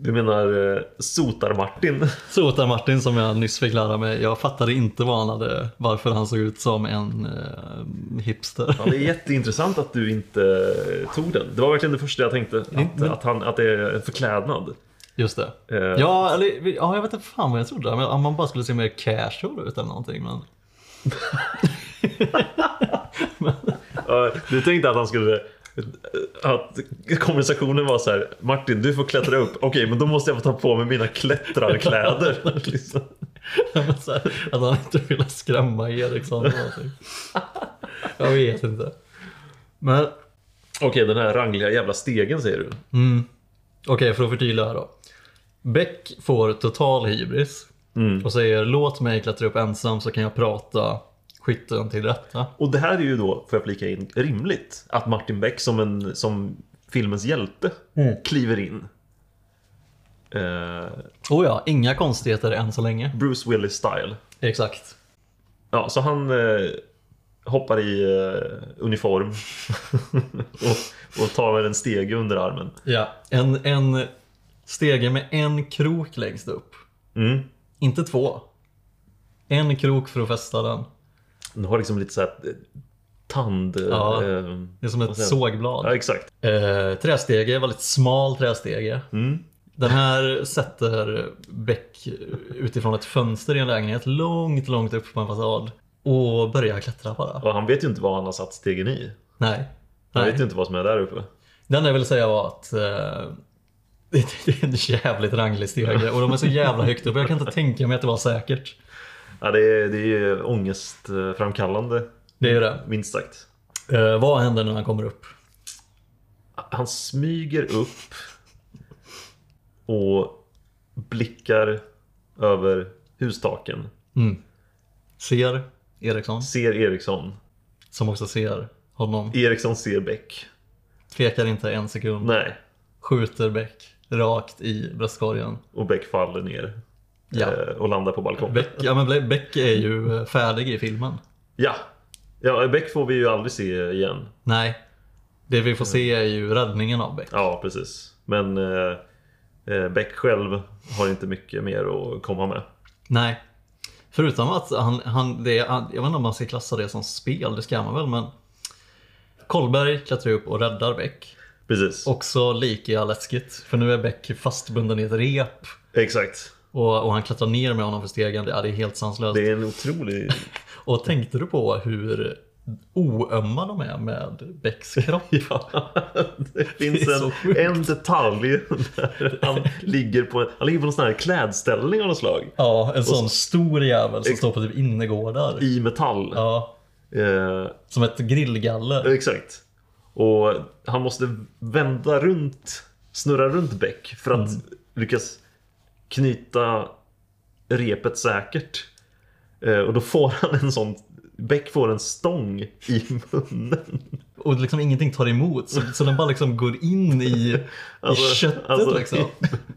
B: Du menar eh, Sotar-Martin?
A: Sotar Martin som jag nyss fick lära mig, jag fattade inte vad han hade, varför han såg ut som en eh, hipster.
B: Ja, det är jätteintressant att du inte eh, tog den. Det var verkligen det första jag tänkte. Att, att, han, att det är en förklädnad.
A: Just det.
B: Eh.
A: Ja, eller, ja, jag vet inte fan vad jag trodde. Men Om man bara skulle se mer casual ut eller någonting. Men...
B: Ja, Du tänkte att han skulle... Att konversationen var så här. Martin, du får klättra upp. Okej, men då måste jag få ta på mig mina klättrarkläder. liksom.
A: Men så här, att han inte ville skrämma Eriksson eller någonting. Jag vet inte. Men okej,
B: Okej, den här rangliga jävla stegen säger du.
A: för att förtydliga här då. Beck får total hybris
B: Mm.
A: och säger låt mig klättra upp ensam så kan jag prata skytten till rätta.
B: Och det här är ju då, får jag flika in, rimligt. Att Martin Beck som, en, som filmens hjälte kliver in. Eh,
A: Oh ja, inga konstigheter än så länge.
B: Bruce Willis-style.
A: Exakt.
B: Ja, så han eh, hoppar i eh, uniform och, och tar väl en stege under armen.
A: Ja, en, en stege med en krok längst upp.
B: Mm.
A: Inte två. En krok för att fästa den.
B: Den har liksom lite såhär tand... eh,
A: Ja.
B: Eh,
A: Det är som ett
B: Vad säger du?
A: sågblad.
B: ja, exakt.
A: Eh, trästege, väldigt smal trästege. Den här sätter Beck utifrån ett fönster i en lägenhet långt, långt upp på en fasad. Och börjar klättra bara.
B: Och han vet ju inte vad han har satt stegen i.
A: Nej.
B: Han
A: Nej.
B: vet ju inte vad som är där uppe.
A: Det enda jag ville säga var att eh, det det är en jävligt ranglig stege och de är så jävla högt upp. Jag kan inte tänka mig att det var säkert.
B: Ja, det, är, det är ju ångestframkallande,
A: Det är ju det.
B: minst sagt.
A: Eh, vad händer när han kommer upp?
B: Han smyger upp och blickar över hustaken.
A: Ser Eriksson,
B: Ser Eriksson.
A: som också ser honom.
B: Eriksson ser Beck.
A: Tvekar inte en sekund.
B: Nej.
A: Skjuter Beck rakt i bröstkorgen.
B: Och Beck faller ner
A: Ja.
B: eh, och landar på balkongen.
A: Beck, ja, men Beck är ju eh, färdig i filmen.
B: Ja. ja, Beck får vi ju aldrig se igen.
A: Nej. Det vi får se är ju räddningen av Beck.
B: Ja, precis. Men eh, eh, Beck själv har inte mycket mer att komma med.
A: Nej. Förutom att han, han, det, är- han, jag vet inte om man ska klassa det som spel, det ska man väl men Kolberg klättrar upp och räddar Beck.
B: Precis.
A: Också lika läskigt, för nu är Beck fastbunden i ett rep
B: Exakt.
A: och, och han klättrar ner med honom för stegen. Det, ja, det är helt sanslöst.
B: Det är en otrolig...
A: Och tänkte du på hur oömma de är med Becks kropp?
B: Ja, det finns
A: Det är så
B: en,
A: sjukt.
B: en detalj där han ligger på en, han ligger på någon sån här klädställning av något slag.
A: Ja, en sån stor jävel som står på typ innergårdar.
B: I metall.
A: Ja,
B: Eh,
A: som ett grillgaller.
B: Exakt. Och han måste vända runt, snurra runt Beck för att
A: Mm.
B: lyckas knyta repet säkert. Eh, Och då får han en sån... Beck får en stång i munnen.
A: Och liksom ingenting tar emot. Så, så den bara liksom går in i,
B: Alltså,
A: i köttet liksom.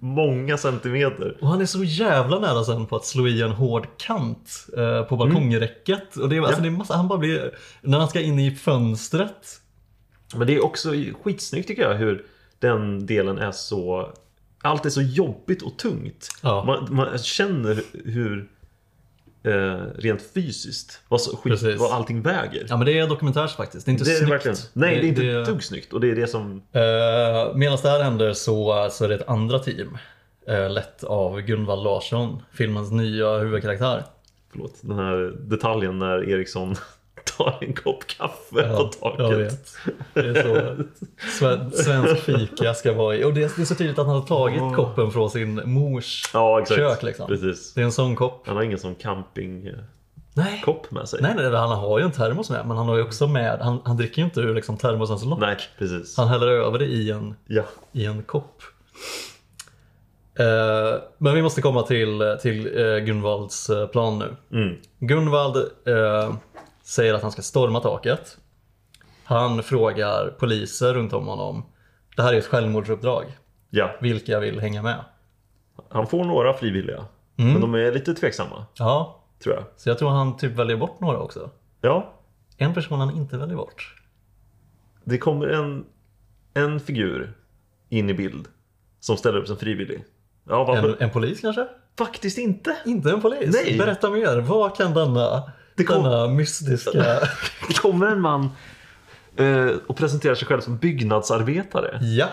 B: Många centimeter.
A: Och han är så jävla nära sen på att slå i en hård kant eh,
B: Mm.
A: på balkongräcket. Och det är, alltså, det är massa, han bara blir... När han ska in i fönstret.
B: Men det är också skitsnyggt tycker jag hur den delen är så... Allt är så jobbigt och tungt.
A: Ja.
B: Man, man känner hur eh, rent fysiskt vad, så, skit,
A: Precis.
B: vad allting väger.
A: Ja men det är dokumentärs faktiskt. Det är inte
B: det är det
A: snyggt.
B: verkligen. Nej, det, är inte ett dugg snyggt. Och det är det som...
A: Eh, Medan det här händer så, så är det ett andra team. eh, lett av Gunvald Larsson, filmens nya huvudkaraktär.
B: Förlåt, den här detaljen när Eriksson tar en kopp kaffe på
A: jag
B: taket.
A: vet. Det är så sve- svensk fika ska vara i. Och det är, det är så tydligt att han har tagit koppen från sin mors
B: Ja, exakt.
A: kök. Liksom.
B: Precis.
A: Det är en sån kopp.
B: Han har ingen sån camping... eh,
A: Nej.
B: kopp med sig.
A: Nej, nej, nej, han har ju en termos med, men han har ju också med, han, han dricker ju inte ur liksom, termosens lock.
B: Nej, precis.
A: Han häller över det i en,
B: Ja.
A: i en kopp. Eh, men vi måste komma till, till eh, Gunvalds eh, plan nu.
B: Mm.
A: Gunvald eh, säger att han ska storma taket. Han frågar poliser runt om honom. Det här är ett självmordsuppdrag.
B: ja.
A: Vilka vill hänga med?
B: Han får några frivilliga.
A: Mm.
B: Men de är lite tveksamma,
A: Ja,
B: tror jag.
A: så jag tror han typ väljer bort några också.
B: Ja,
A: En person han inte väljer bort.
B: det kommer en, en figur in i bild som ställer upp som frivillig. Ja, varför?
A: En, en polis kanske?
B: Faktiskt inte!
A: Inte en polis?
B: Nej.
A: Berätta mer. Vad kan denna,
B: Det kom-
A: denna mystiska...
B: Det kommer en man eh, och presenterar sig själv som byggnadsarbetare.
A: ja,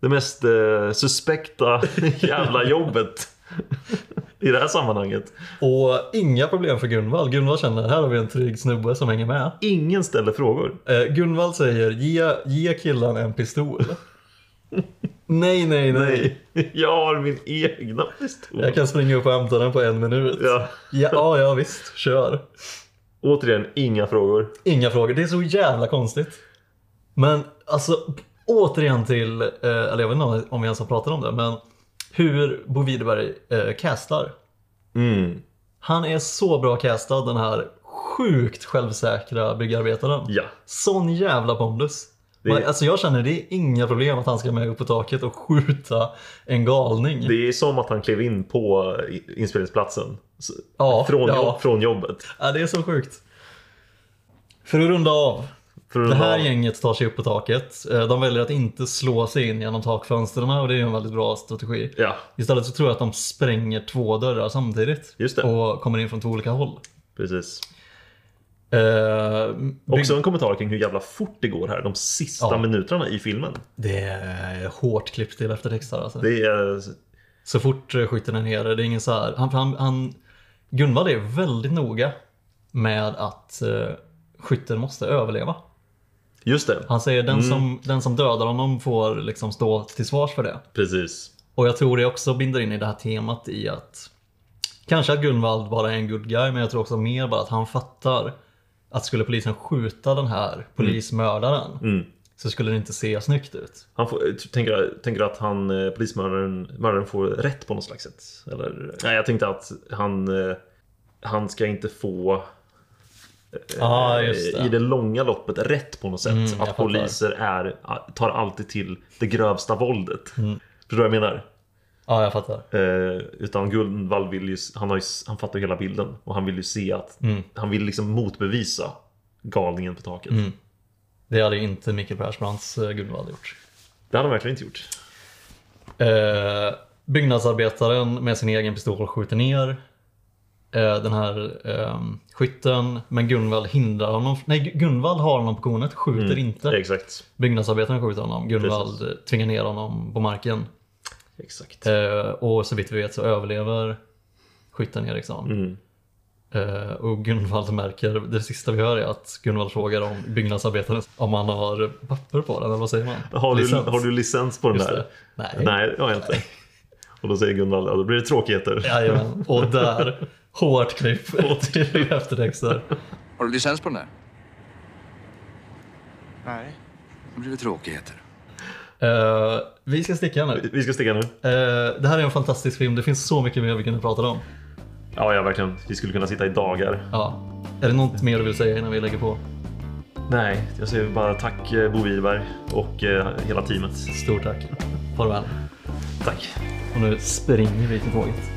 B: Det mest eh, suspekta jävla jobbet i det här sammanhanget.
A: och inga problem för Gunvald. Gunvald känner här har vi en trygg snubbe som hänger med.
B: Ingen ställer frågor.
A: Eh, Gunvald säger ge, ge killen en pistol. nej, nej, nej,
B: Nej, jag har min egna pistol.
A: Jag kan springa upp och hämta den på en minut.
B: Ja.
A: Ja, ja, ja visst, kör.
B: Återigen, inga frågor.
A: Inga frågor. Det är så jävla konstigt. Men alltså återigen till, eh, eller jag vet inte om vi ens har pratat om det, men hur Bo Widerberg eh, castar.
B: Mm.
A: Han är så bra castad den här sjukt självsäkra byggarbetaren.
B: Ja.
A: Sån jävla pondus.
B: Det är-
A: Man, alltså jag känner det är inga problem att han ska med upp på taket och skjuta en galning.
B: Det är som att han klev in på i- inspelningsplatsen. S-
A: Ja,
B: Från,
A: ja.
B: jobb, från jobbet.
A: Ja, det är så sjukt. För att runda av.
B: För att
A: Det här
B: ha-
A: gänget tar sig upp på taket. Eh, De väljer att inte slå sig in genom takfönstren och det är en väldigt bra strategi.
B: Ja,
A: Istället så tror jag att de spränger två dörrar samtidigt.
B: Just det.
A: Och kommer in från två olika håll.
B: precis.
A: Eh, bygg-
B: Också en kommentar kring hur jävla fort det går här. De sista
A: Ja.
B: minuterna i filmen.
A: Det är hårt klippt till eftertexter alltså.
B: Det är...
A: Så fort eh, skytten är nere, det är ingen så här. Han, han, han, Gunvald är väldigt noga med att eh, skytten måste överleva.
B: Just det.
A: Han säger den, som, den som dödar honom får liksom stå till svars för det.
B: Precis.
A: Och jag tror det också binder in i det här temat i att kanske att Gunvald bara är en good guy, men jag tror också mer bara att han fattar att skulle polisen skjuta den här polismördaren så skulle det inte se snyggt ut.
B: Han får, t- tänker, tänker att han, eh, polismördaren mördaren får rätt på något slags sätt? Eller? Nej, jag tänkte att han, eh, han ska inte få
A: Ja, ah,
B: eh,
A: just
B: i
A: det. Mm,
B: det långa loppet rätt på något sätt.
A: jag
B: att
A: fattar.
B: poliser är, tar alltid till det grövsta våldet.
A: Mm.
B: Förstår du vad jag menar?
A: Ja, jag fattar.
B: Eh, utan Gunvald vill ju, han, har ju, han fattar ju hela bilden och han vill ju se att,
A: Mm.
B: han vill liksom motbevisa galningen på taket.
A: Mm. Det hade ju inte Mikael Persbrandts eh, Gunvald gjort.
B: Det hade han verkligen inte gjort.
A: Eh, byggnadsarbetaren med sin egen pistol skjuter ner eh, den här eh, skytten. Men Gunvald hindrar honom. Nej, Gu- Gunvald har honom på kornet, skjuter
B: Mm,
A: inte.
B: Exakt.
A: Byggnadsarbetaren skjuter honom. Gunvald tvingar ner honom på marken.
B: Exakt.
A: Eh, och så vitt vi vet så överlever skytten Eriksson.
B: Mm.
A: Eh, och Gunvald märker, det sista vi hör är att Gunvald frågar om byggnadsarbetaren om han har papper på den, eller vad säger man?
B: Har du,
A: Licens.
B: har du licens på den
A: Just
B: där?
A: det. Nej.
B: Nej, det har jag inte. Och då säger Gunvald, ja, då blir det tråkigheter.
A: Jajamän, och där hårt klipp till eftertexter.
E: Har du licens på den där?
F: Nej.
E: Det blir tråkigheter.
A: Eh, vi ska sticka nu.
B: Vi ska sticka nu.
A: Eh, det här är en fantastisk film, det finns så mycket mer vi kunde prata om.
B: Ja, ja, verkligen. Vi skulle kunna sitta i dagar.
A: Ja. Är det något mer du vill säga innan vi lägger på?
B: Nej, jag säger bara tack eh, Bo Widerberg och eh, hela teamet.
A: Stort tack. Farväl.
B: Tack.
A: Och nu springer vi till tåget.